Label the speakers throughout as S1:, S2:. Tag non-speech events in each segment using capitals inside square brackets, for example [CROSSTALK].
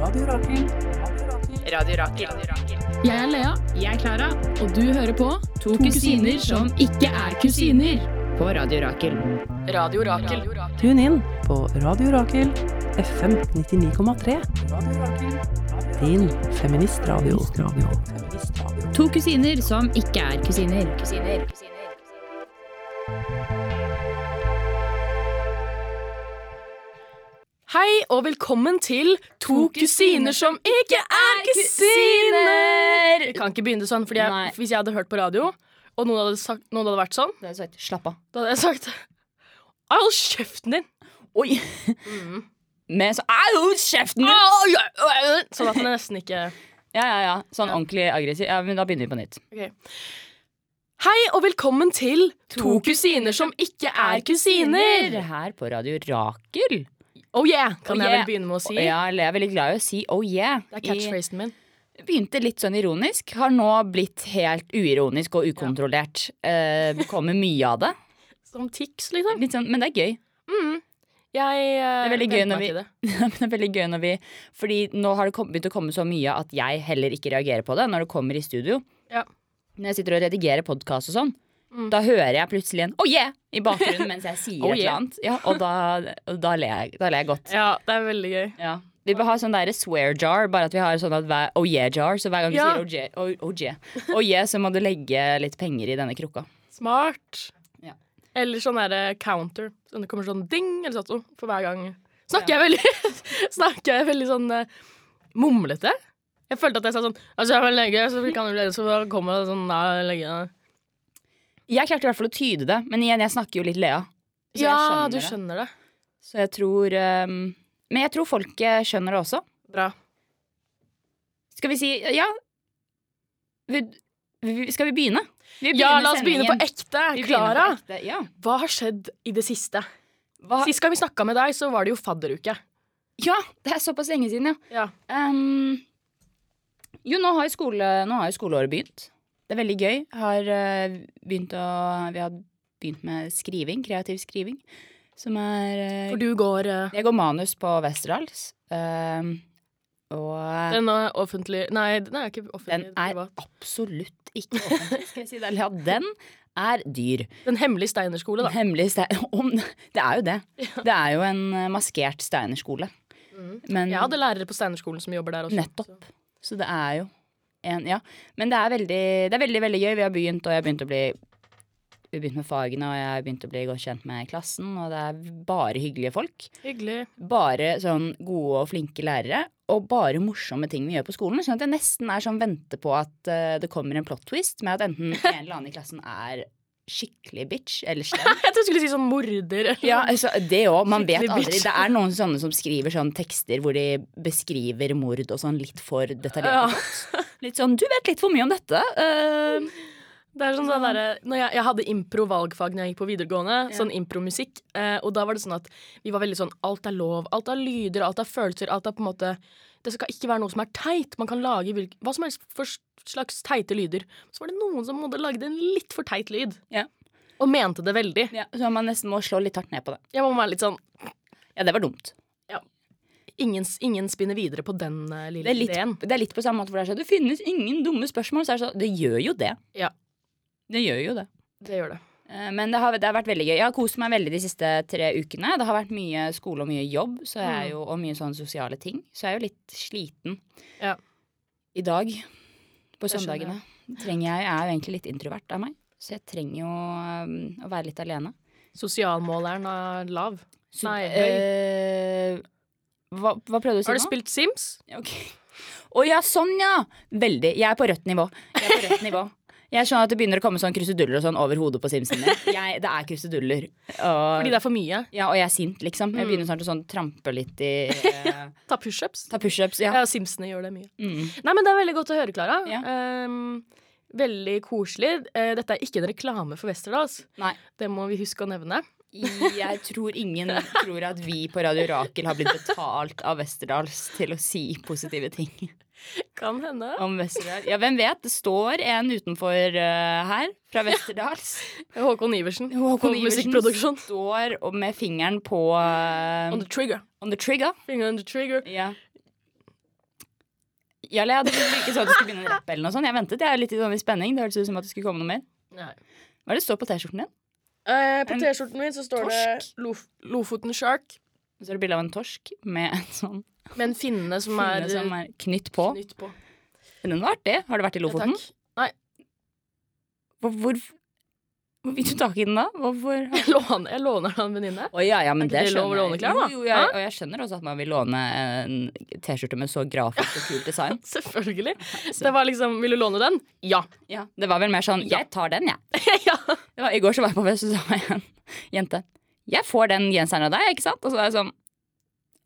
S1: Radio Rakel. Radio Rakel.
S2: Jeg er Lea. Jeg er Klara. Og du hører på To, kusiner som ikke er kusiner. På Radio Rakel.
S3: Radio Rakel.
S1: Tune inn på Radio Rakel FM 99,3. Din feministradio.
S2: To kusiner som ikke er kusiner. kusiner.
S3: Hei og velkommen til To kusiner som ikke er kusiner! Vi kan ikke begynne sånn, fordi
S4: Nei.
S3: jeg, hvis jeg hadde hørt på radio, og noen hadde, sagt, noen hadde vært sånn,
S4: Det er sagt, slapp av.
S3: da hadde jeg sagt Au, Hold kjeften din!
S4: Oi! Med så Au, kjeften din!
S3: Au, ja, au, au. Sånn at den nesten ikke
S4: Ja, ja, ja. Sånn ordentlig aggressiv. Ja, men da begynner vi på nytt.
S3: Hei og velkommen til To kusiner som ikke er kusiner!
S4: Her på Radio Rakel.
S3: Oh yeah, kan
S4: Oh
S3: jeg
S4: yeah.
S3: vel begynne med å si.
S4: Ja, jeg er veldig glad i å si oh yeah.
S3: Det er catchphrasen min.
S4: I, begynte litt sånn ironisk, har nå blitt helt uironisk og ukontrollert. Eh, det kommer mye av det.
S3: Som tics, liksom.
S4: Litt sånn, men det er gøy.
S3: Jeg eh,
S4: Det er veldig gøy når vi,
S3: det.
S4: Ja, men det er veldig gøy når vi Fordi nå har det kom- begynt å komme så mye at jeg heller ikke reagerer på det når det kommer i studio.
S3: Ja. Mm.
S4: Når jeg sitter og redigerer podkast og sånn, da hører jeg plutselig en 'oh yeah' i bakgrunnen mens jeg
S3: [LAUGHS]
S4: sier
S3: Oh
S4: et eller
S3: yeah.
S4: annet. Ja, og da, og da, ler jeg, da ler jeg godt.
S3: Ja, det er veldig gøy.
S4: Ja. Vi bør ha sånn derre swear jar, bare at vi har sånn at hver, oh yeah jar. Så hver gang du
S3: Ja.
S4: sier oh yeah, oh, oh, yeah, oh yeah, så må du legge litt penger i denne krukka.
S3: Smart.
S4: Ja.
S3: Eller sånn derre counter. Sånn det kommer sånn ding eller sånn, for hver gang. Snakker jeg veldig [LAUGHS] Snakker jeg veldig sånn eh, mumlete? Jeg følte at jeg sa sånn altså, jeg vil legge, så kan du legge, så kommer det sånn nei, legge.
S4: Jeg klarte i hvert fall å tyde det, men igjen, jeg snakker jo litt Lea. Så jeg
S3: Ja,
S4: skjønner
S3: du
S4: det.
S3: skjønner det.
S4: Så jeg tror ehm, Men jeg tror folk eh, skjønner det også.
S3: Bra.
S4: Skal vi si Ja. Vi, vi, skal vi begynne? Vi
S3: Ja, la oss begynne på
S4: sendingen.
S3: ekte.
S4: Vi begynner
S3: Klara,
S4: på ekte, Ja.
S3: hva har skjedd i det siste?
S4: Hva,
S3: Sist gang vi snakka med deg, så var det jo fadderuke.
S4: ja, det er såpass lenge siden, ja.
S3: Ja.
S4: Ehm, jo, nå har, jo skole, nå har jo skoleåret begynt. Det er veldig gøy. Har, eh, begynt å, vi har begynt med skriving, kreativ skriving, som er eh,
S3: For du går eh,
S4: Jeg går manus på Westerdals. ehm, og
S3: den eh, offentlige Nei, den er ikke offentlig.
S4: Den er
S3: privat.
S4: absolutt ikke offentlig, skal jeg si det. Eller Ja, den er dyr.
S3: Den hemmelige steinerskole,
S4: [LAUGHS]
S3: da.
S4: Hemmelig stein... Om, det er jo det. Det er jo en eh, maskert steinerskole. Men
S3: Jeg hadde lærere på Steinerskolen som jobber der også.
S4: nettopp. Så det er jo en Ja. Men det er veldig, det er veldig, veldig gøy. Vi har begynt, og jeg har begynt å bli vi har begynt med fagene, og jeg har begynt å bli godt kjent med klassen. Og det er bare hyggelige folk.
S3: Hyggelig.
S4: Bare sånn gode og flinke lærere. Og bare morsomme ting vi gjør på skolen. Sånn at jeg nesten er sånn vente på at eh, det kommer en plot twist med at enten en eller annen i klassen er skikkelig bitch eller slem.
S3: Jeg trodde du skulle si sånn morder. eller-
S4: Ja, altså, det òg. Man vet
S3: Skikkelig
S4: aldri.
S3: bitch.
S4: Det er noen sånne som skriver sånne tekster hvor de beskriver mord og sånn litt for
S3: Ja.
S4: detaljert. Litt sånn 'du vet litt for mye om dette'. eh,
S3: Det er sånn, sånn derre- når jeg, jeg hadde impro-valgfag når jeg gikk på videregående, sånn impromusikk, eh, og da var det sånn at vi var veldig sånn alt er lov, alt er lyder, alt er følelser, alt er på en måte Det skal ikke være noe som er teit. Man kan lage hvilk- hva som helst for slags teite lyder. Så var det noen som hadde lagd en litt for teit lyd,
S4: Ja.
S3: og mente det veldig.
S4: ja, så man nesten må slå litt hardt ned på det.
S3: Jeg må være litt sånn
S4: Ja, det var dumt.
S3: Ingen, ingen spinner videre på den eh, lille
S4: Det er litt,
S3: ideen.
S4: det er litt på samme måte hvor det er sånn 'det finnes ingen dumme spørsmål'. Så er det sånn, det gjør jo det.
S3: Ja.
S4: Det gjør jo det.
S3: Det gjør det.
S4: Eh, Men det har, det har vært veldig gøy. Jeg har kost meg veldig de siste tre ukene. Det har vært mye skole og mye jobb så jeg
S3: Mm.
S4: er jo, og mye sånne sosiale ting. Så jeg er jo litt sliten
S3: Ja.
S4: i dag. På
S3: Det skjønner
S4: søndagene. Trenger jeg, jeg er jo egentlig litt introvert av meg, så jeg trenger jo eh, å være litt alene.
S3: Sosialmåleren er lav.
S4: Så,
S3: Nei, høy.
S4: eh, hva, hva prøvde du å si
S3: Har du
S4: nå?
S3: spilt Sims?
S4: Ok. Å ja, sånn ja! Veldig. Jeg er på rødt nivå. Jeg er på rødt nivå. Jeg skjønner at det begynner å komme sånn kruseduller og sånn over hodet på Simpsons. Jeg, det er kruseduller. Og,
S3: Fordi det er for mye.
S4: ja, og jeg er sint, liksom. Jeg begynner snart å sånn trampe litt i eh,
S3: Ta pushups.
S4: Ta pushups. Ja.
S3: Ja, Simsene gjør det mye.
S4: Mm.
S3: Nei, men det er veldig godt å høre, Klara.
S4: Ja.
S3: Ehm, veldig koselig. Eh, dette er ikke en reklame for Westerdals.
S4: Nei.
S3: Det må vi huske å nevne.
S4: Jeg tror ingen tror at vi på Radio Rakel har blitt betalt av Westerdals til å si positive ting
S3: Kan hende.
S4: om Westerdals. Ja, hvem vet? Det står en utenfor eh, her fra Westerdals.
S3: Håkon Iversen.
S4: Håkon
S3: på
S4: Iversen
S3: Musikkproduksjon.
S4: står og med fingeren på eh,
S3: On the trigger.
S4: on the trigger.
S3: Finger on the trigger.
S4: Ja, eller jeg hadde ikke sånn at du skulle begynne en rapp eller noe sånt. Jeg ventet, jeg er litt i sånn i spenning. Det hørtes ut som at det skulle komme noe mer.
S3: Nei.
S4: Hva er det det står på T-skjorten din?
S3: Eh, på
S4: En
S3: T-skjorten min så står
S4: torsk.
S3: det Lof Lofoten Shark,
S4: Så er det bilde av en torsk med en sånn
S3: men finnene som
S4: finne
S3: er, eh,
S4: som er knytt på.
S3: knytt på.
S4: Den var artig. Har du vært i
S3: Ja,
S4: Lofoten?
S3: takk.
S4: Hvor, hvor, hvor fikk du tak i den da? Hvorfor?
S3: Jeg låner, jeg låner av en venninne. [LAUGHS]
S4: Å ja, ja, men
S3: Er ikke
S4: det
S3: det lov å
S4: skjønner
S3: låne klær, da?
S4: Jo, jo, jeg, og jeg skjønner også at man vil låne en T-skjorte med så grafisk og kult design.
S3: Selvfølgelig. Det var liksom, Vil du låne den? [LAUGHS] Ja. [LAUGHS]
S4: Ja, det var vel mer sånn
S3: Ja.
S4: 'jeg tar den, jeg'.
S3: ja.
S4: Det var, I går så var jeg på fest, og så sa jeg en jente 'jeg får den genseren av deg', ikke sant? Og så var jeg sånn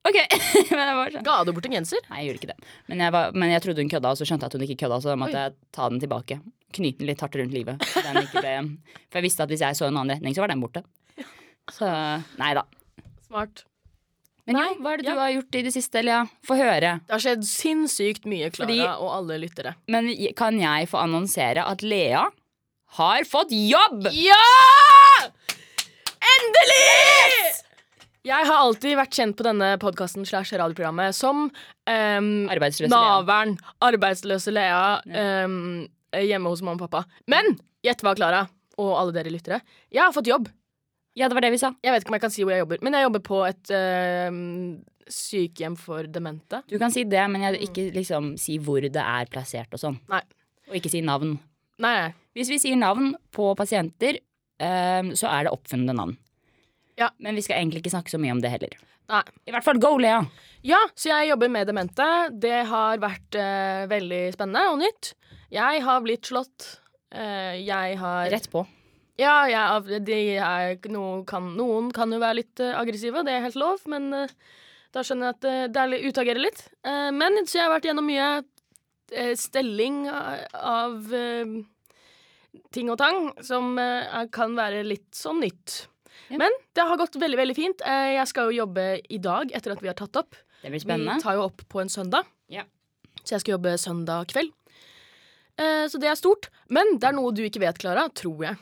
S4: OK. [LAUGHS] men jeg var sånn
S3: Ga du bort en genser?
S4: Nei, jeg gjorde ikke det. Men jeg, var, men jeg trodde hun kødda, og så skjønte jeg at hun ikke kødda, så da måtte jeg ta den tilbake. Knyte den litt hardt rundt livet. så Den ikke ble, [LAUGHS] for jeg visste at hvis jeg så en annen retning, så var den borte. Så nei da.
S3: Smart.
S4: Men
S3: Nei,
S4: jo, hva er det
S3: ja.
S4: du har gjort i det siste, Elia? Få høre.
S3: Det har skjedd sinnssykt mye, Klara
S4: Fordi-
S3: og alle lyttere.
S4: Men kan jeg få annonsere at Lea har fått jobb?
S3: Ja! Endelig! Jeg har alltid vært kjent på denne podkasten slash radioprogrammet som um,
S4: Arbeidsløs Lea.
S3: Navern, arbeidsløse Lea, ehm, hjemme hos mamma og pappa. Men gjett hva, Klara og alle dere lyttere. Jeg har fått jobb.
S4: Ja, det var det vi sa.
S3: Jeg vet ikke om jeg kan si hvor jeg jobber, men jeg jobber på et ehm, sykehjem for demente.
S4: Du kan si det, men jeg vil ikke liksom si hvor det er plassert og sånn.
S3: Nei.
S4: Og ikke si navn.
S3: Nei, nei.
S4: Hvis vi sier navn på pasienter, ehm, så er det oppfunne navn.
S3: Ja.
S4: Men vi skal egentlig ikke snakke så mye om det heller.
S3: nei.
S4: I hvert fall go, Lea!
S3: Ja, så jeg jobber med demente. Det har vært eh, veldig spennende og nytt. Jeg har blitt slått. Eh, jeg har
S4: Rett på.
S3: Ja, jeg, av- de er, noen, kan, noen kan jo være litt eh, aggressive, det er helt lov, men eh, da skjønner jeg at eh, det er litt utagerer litt. Eh, men så jeg har vært gjennom mye eh, stelling av, av eh, ting og tang som eh, er- kan være litt sånn nytt.
S4: Ja.
S3: Men det har gått veldig, veldig fint. Eh, jeg skal jo jobbe i dag etter at vi har tatt opp.
S4: Det blir
S3: Vi
S4: spennende.
S3: tar jo opp på en søndag,
S4: Ja.
S3: så jeg skal jobbe søndag kveld. Eh, så det er stort. Men det er noe du ikke vet, Klara, tror jeg.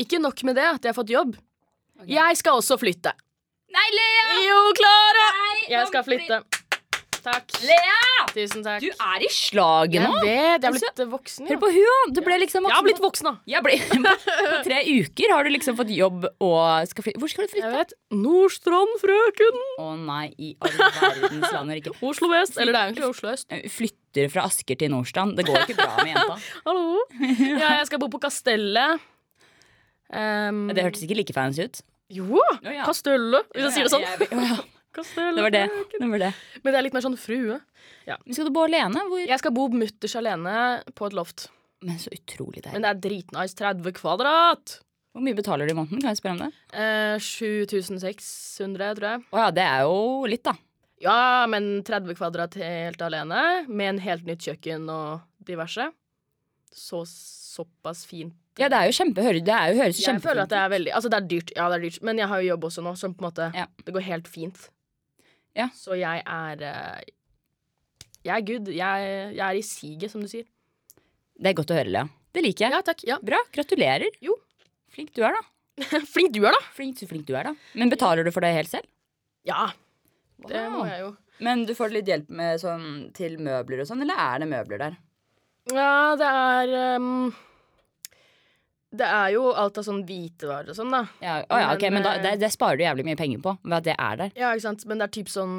S3: Ikke nok med det at jeg har fått jobb. Jeg skal også flytte.
S4: Nei, Lea!
S3: Jo, Klara!
S4: Nei,
S3: Jeg skal
S4: nå blir-
S3: flytte. Takk.
S4: Lea!
S3: Tusen takk.
S4: Du er i slaget
S3: jeg
S4: nå!
S3: vet. Jeg har blitt eh, voksen.
S4: Hør
S3: Ja.
S4: på hun! Du ble liksom
S3: Jeg har blitt voksen, da.
S4: Jeg ble,
S3: [LAUGHS]
S4: på tre uker har du liksom fått jobb og skal flytte. Hvor skal du
S3: Jeg
S4: flytte?
S3: vet. Nordstrand, Frøken,
S4: Å nei, i all verdens land og rike.
S3: Oslo vest. Eller det er egentlig Oslo øst.
S4: Flytter fra Asker til Nordstrand. Det går ikke bra med jenta.
S3: [LAUGHS] Hallo. Ja, jeg skal bo på Kastellet. Um,
S4: Det hørtes ikke like fancy ut.
S3: Jo!
S4: Å, ja.
S3: Kastellet, hvis jeg sier det sånn.
S4: Jeg- jeg- å, ja.
S3: Kastellet.
S4: Det var det. det, var det.
S3: Men det er litt mer sånn frue.
S4: Men skal du bo alene? Hvor?
S3: Jeg skal bo mutters alene på et loft.
S4: Men så utrolig deilig.
S3: Men det er dritnice. 30 kvadrat!
S4: Hvor mye betaler du i måneden? Kan jeg spørre om det?
S3: Eh, 7600, tror jeg.
S4: Å ja, det er jo litt, da.
S3: Ja, men 30 kvadrat helt alene, med en helt nytt kjøkken og diverse. Så såpass fint.
S4: Ja, det er jo kjempe, hører- det er jo, høres
S3: Jeg føler
S4: kjempefint
S3: at det er veldig Altså, det er dyrt, ja, det er dyrt, men jeg har jo jobb også nå, som på en måte
S4: Ja.
S3: Det går helt fint.
S4: Ja.
S3: Så jeg er eh, Jeg er good. Jeg, jeg er i siget, som du sier.
S4: ut. Det er godt å høre, Lea. Det liker jeg.
S3: Ja takk. Ja. [LAUGHS]
S4: Bra. Gratulerer.
S3: Jo.
S4: Flink du er, da.
S3: Flink du er, da!
S4: Flink, så flink du er, da. Men betaler du for det helt selv?
S3: Ja, det
S4: Wow.
S3: må jeg jo.
S4: Men du får litt hjelp med sånn, til møbler og sånn, eller er det møbler der?
S3: Ja, det er ehm, Det er jo alt av sånn hvitevarer og sånn, da.
S4: Ja, å, ja, ok,
S3: Men,
S4: men da,
S3: eh,
S4: det, det sparer du jævlig mye penger på ved at det er der.
S3: Ja, ikke sant? Men det er typ sånn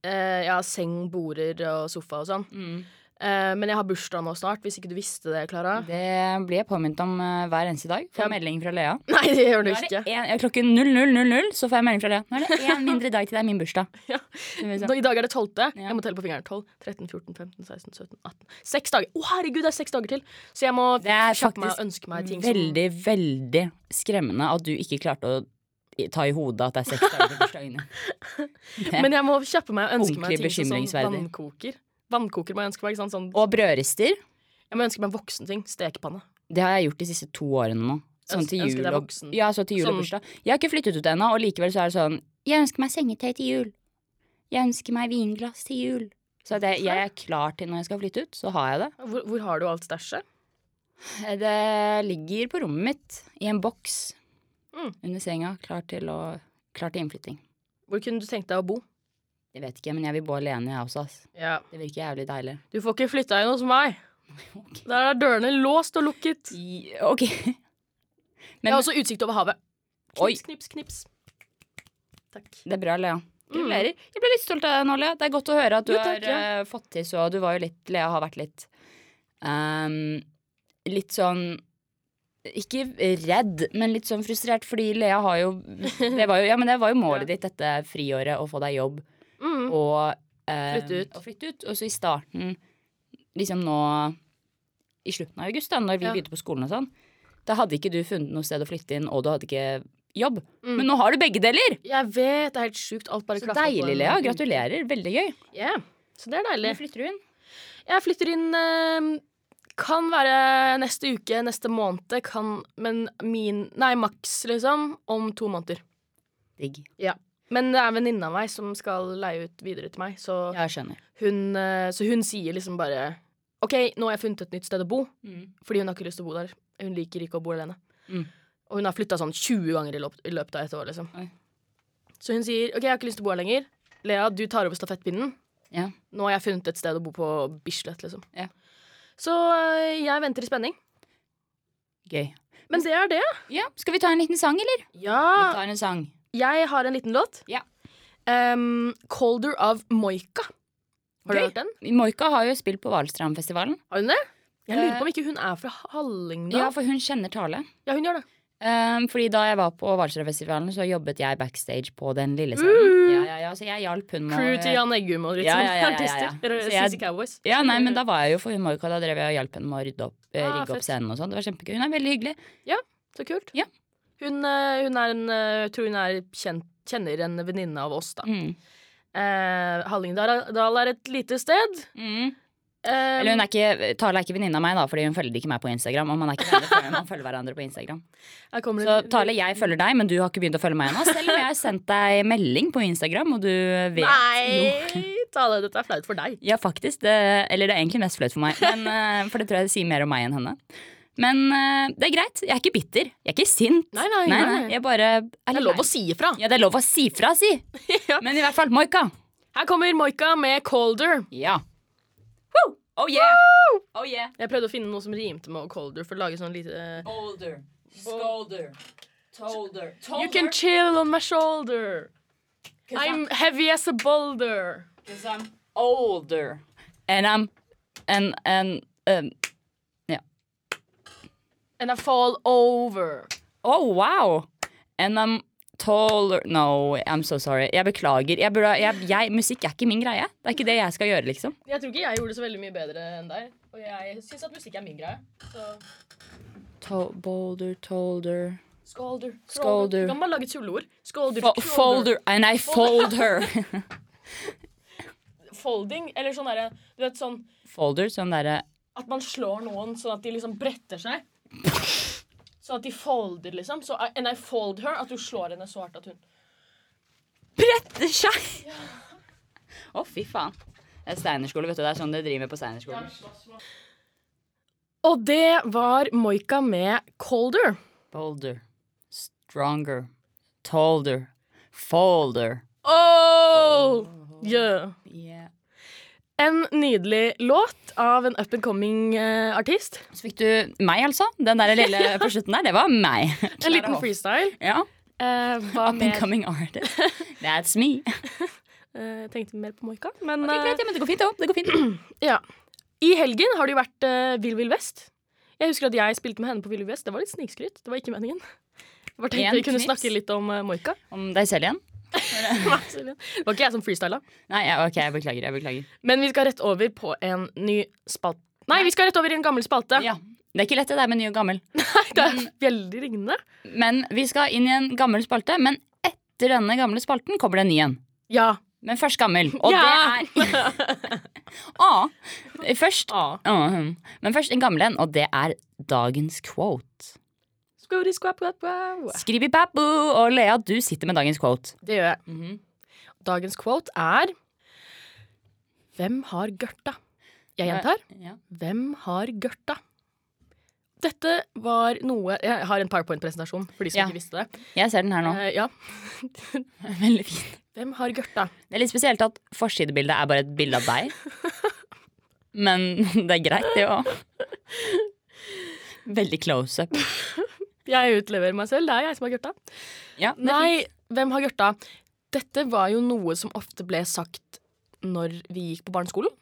S3: eh, Ja, seng, border og sofa og sånn.
S4: Mm.
S3: Eh, men jeg har bursdag nå snart, hvis ikke du visste det, Klara.
S4: Mm. Det blir jeg påminnet om eh, hver eneste dag. Får
S3: Ja.
S4: melding fra Lea.
S3: [LAUGHS] Nei, det gjør du
S4: Nå er det
S3: ikke.
S4: en, ja, klokken 00.00 så får jeg melding fra Lea. Nå er det
S3: [LAUGHS]
S4: én mindre dag til det er min bursdag. sånn,
S3: Ja.
S4: Så vi
S3: Nå,
S4: sa,
S3: I dag er det tolvte.
S4: liksom. Ja.
S3: Jeg må telle på fingeren. 12, 13, 14, 15, 16, 17, 18. Seks dager! Å, herregud, det er seks dager til! Så jeg må
S4: Det er
S3: kjappe meg og
S4: faktisk
S3: ønske meg ting
S4: Veldig, veldig skremmende at du ikke klarte å i- ta i hodet at det er seks dager til bursdagen din.
S3: [LAUGHS]
S4: [LAUGHS]
S3: som Men jeg må kjappe meg og ønske meg
S4: Ordentlig
S3: ting som sånn
S4: bekymringsverdig.
S3: vannkoker. Vannkoker må jeg ønske meg. ikke sant? Sånn,
S4: Og brødrister.
S3: jeg må ønske meg voksne ting. Stekepanne.
S4: Det har jeg gjort de siste to årene nå. Sånn
S3: Øns-
S4: til
S3: ønsker
S4: jul,
S3: deg
S4: og,
S3: voksen.
S4: ja, så til jul
S3: Sånn-
S4: og bursdag. Jeg har ikke flyttet ut ennå, og likevel så er det sånn Jeg ønsker meg sengetøy til jul. Jeg ønsker meg vinglass til jul. Så det, jeg er klar til når jeg skal flytte ut, så har jeg det.
S3: Hvor, hvor har du alt stæsjet?
S4: Det ligger på rommet mitt i en boks
S3: Mm.
S4: under senga, klar til, å, klar til innflytting.
S3: Hvor kunne du tenkt deg å bo?
S4: Jeg vet ikke, men jeg vil bo alene, jeg også. Ass.
S3: Ja.
S4: Det virker jævlig deilig.
S3: Du får ikke flytta inn hos meg. Der er dørene låst og lukket.
S4: OK.
S3: Jeg har også utsikt over havet.
S4: [LAUGHS] Oi.
S3: Knips, knips, knips. Takk.
S4: Det er bra, Lea. Mm. Gratulerer. Jeg ble litt stolt av deg nå, Lea. Det er godt å høre at du
S3: Jo, takk,
S4: har eh, fått til så Du var jo litt Lea har vært litt ehm, Litt sånn ikke redd, men litt sånn frustrert, fordi Lea har jo Det var jo, ja, men det [LAUGHS] var jo målet ditt dette friåret, å få deg jobb
S3: Mm.
S4: og eh,
S3: Flytte ut.
S4: Og flytte ut. Og så i starten, liksom nå i slutten av august, da når vi
S3: Ja.
S4: begynte på skolen og sånn, da hadde ikke du funnet noe sted å flytte inn, og du hadde ikke jobb.
S3: Mm.
S4: Men nå har du begge deler!
S3: Jeg vet, det er helt sjukt. Alt bare
S4: Så
S3: klaffer på
S4: deilig,
S3: en-
S4: Lea. Gratulerer. Veldig gøy.
S3: Ja, Så det er deilig.
S4: Hvor flytter du inn?
S3: Jeg flytter inn eh, Kan være neste uke, neste måned, kan Men min Nei, maks, liksom. Om to måneder.
S4: Digg.
S3: Men det er en venninne av meg som skal leie ut videre til meg, så
S4: Ja, jeg skjønner.
S3: hun, eh, så hun sier liksom bare OK, nå har jeg funnet et nytt sted å bo, fordi hun har ikke lyst til å bo der. Hun liker ikke å bo alene.
S4: Mm.
S3: Og hun har flytta sånn 20 ganger i, løp, i løpet av et år, liksom.
S4: Oi.
S3: Så hun sier OK, jeg har ikke lyst til å bo her lenger. Lea, du tar over stafettpinnen.
S4: Ja.
S3: Nå har jeg funnet et sted å bo på Bislett, liksom.
S4: Ja.
S3: Så øh, jeg venter i spenning.
S4: Gøy.
S3: Men det er det.
S4: Ja, Skal vi ta en liten sang, eller? Vi
S3: Ja.
S4: tar en sang.
S3: Jeg har en liten låt.
S4: Ja.
S3: Ehm, 'Colder of Moika'. Har du
S4: Gøy.
S3: hørt den?
S4: Moika har jo spilt på Valstrandfestivalen.
S3: Har hun det? Jeg
S4: Eh.
S3: lurer på om ikke hun er fra Hallingdal.
S4: Ja,
S3: Ja.
S4: for hun kjenner Tale.
S3: hun gjør det.
S4: Um, fordi da jeg var på Valstrandfestivalen, så jobbet jeg backstage på den lille scenen.
S3: Uh.
S4: Ja, ja, ja, så jeg hjalp hun med å-
S3: Crew til Jan Eggum og dritt
S4: Ja,
S3: sånn.
S4: ja, ja, ja, ja.
S3: Artister. Eller
S4: Så jeg-
S3: CC Cowboys.
S4: Ja, nei, men da var jeg jo for hun Moika. Da drev jeg og hjalp henne med å rydde opp, eh,
S3: Ah,
S4: rigge opp
S3: fett.
S4: scenen og sånn. Det var kjempegøy. Hun er veldig hyggelig.
S3: Så kult.
S4: Ja.
S3: Hun, øh, hun er en øh, Tror hun er kjent, kjenner en venninne av oss, da.
S4: Mm.
S3: Eh, Hallingdal Dal er et lite sted.
S4: Mm.
S3: Eh,
S4: Eller hun er ikke, Tale er ikke venninne av meg, da, fordi hun følger ikke meg på Instagram. Og man er ikke venner før man følger hverandre på Instagram.
S3: her kommer
S4: Så
S3: det-
S4: Tale, jeg følger deg, men du har ikke begynt å følge meg ennå. Selv om jeg har sendt deg melding på Instagram, og du vet Jo.
S3: Nei, Tale, dette er flaut for deg.
S4: Ja, faktisk. Det, eller det er egentlig mest flaut for meg.
S3: [LAUGHS]
S4: Men, eh, for det tror jeg sier mer om meg enn henne. Men eh, det er greit. Jeg er ikke bitter. Jeg er ikke sint.
S3: Nei, nei,
S4: nei,
S3: nei.
S4: Jeg bare er
S3: Det er
S4: litt
S3: lov
S4: lei.
S3: å si ifra.
S4: Ja, det er lov å si fra, si.
S3: [LAUGHS] Ja.
S4: Men i hvert fall, Moika.
S3: Her kommer Moika med 'Colder'.
S4: Ja. Woo! Oh yeah. Oh yeah.
S3: Jeg prøvde å finne noe som rimte med 'Colder'. For å lage sånn lite eh,
S4: Boulder. Scolder. Tolder.
S3: You can chill on my shoulder. I'm heavy as a boulder.
S4: Because I'm older. And I'm and, and, um,
S3: And I fall over.
S4: Oh, wow! And I'm taller No, I'm so sorry. Jeg beklager. Jeg burde, jeg, jeg, musikk er ikke min greie. Det er ikke det jeg skal gjøre, liksom.
S3: Jeg tror ikke jeg gjorde det så veldig mye bedre enn deg. Og jeg syns at musikk er min greie. Så
S4: To boulder, tolder
S3: Scolder.
S4: Scolder.
S3: Du kan bare lage et tulleord. Scolder.
S4: Fo
S3: shoulder,
S4: Folder eh, And I fold her.
S3: Folding. Eller sånn derre Du vet sånn
S4: [LAUGHS] folder som eh, derre
S3: At man slår noen sånn at de liksom bretter seg. Sånn at de folder, liksom. Så, I- and I fold her. At du slår henne så hardt at hun
S4: Bretter seg! Å, fy faen. Det er steinerskole, vet du. Det er sånn det driver med på steinerskolen.
S3: Og det var Moika med Colder.
S4: Boulder. Stronger. Tolder. Folder.
S3: Oh! Yeah.
S4: Yeah.
S3: En nydelig låt av en up and coming eh, artist.
S4: Så fikk du meg, altså. Den der [LAUGHS] lille på slutten der, det var meg.
S3: En liten freestyle.
S4: Ja.
S3: Eh, hva
S4: Up and
S3: mer?
S4: coming artist. That's [LAUGHS] me.
S3: Eh, jeg tenkte mer på Moika, men
S4: Det er greit,
S3: eh,
S4: ja, men det går fint, det også. Det går fint.
S3: ja. I helgen har det jo vært eh, Vill Vill Vest. Jeg husker at jeg spilte med henne på Vill Vill Vest. Det var litt snikskryt. Det var ikke meningen. Jeg bare
S4: En
S3: tenkte vi kunne
S4: knips.
S3: snakke litt om eh, Moika.
S4: [CLEARS THROAT]
S3: [LAUGHS]
S4: Om deg selv igjen?
S3: det var ikke jeg som freestyla.
S4: Nei, ja, ok, jeg beklager. jeg beklager
S3: Men vi skal rett over på en ny spalte. Nei, vi skal rett over i en gammel spalte.
S4: Ja, Det er ikke lett det der med ny og gammel.
S3: [LAUGHS] Det er veldig ringende.
S4: Men vi skal inn i en gammel spalte. Men etter denne gamle spalten kommer det en ny en.
S3: Ja.
S4: Men først gammel. Og
S3: Ja.
S4: det er [LAUGHS] ah, først, Ah, hm. Men først en gammel en, og det er dagens quote.
S3: Skåri, skvap, skvap, skvap.
S4: Skribi babu, og Lea, du sitter med dagens quote.
S3: Det gjør jeg. Dagens quote er Hvem har gørta? Jeg gjentar.
S4: Ja.
S3: Hvem har gørta? Dette var noe Jeg har en powerpoint-presentasjon for de som
S4: Ja.
S3: ikke visste det.
S4: Jeg ser den her nå.
S3: Eh, ja.
S4: Veldig fin.
S3: Hvem har gørta?
S4: Det er litt spesielt at forsidebildet er bare et bilde av deg. Men det er greit, det òg. Veldig close up.
S3: Jeg utleverer meg selv. Det er jeg som har gørta.
S4: Ja, det er
S3: Nei, hvem har gørta? Dette var jo noe som ofte ble sagt når vi gikk på barneskolen.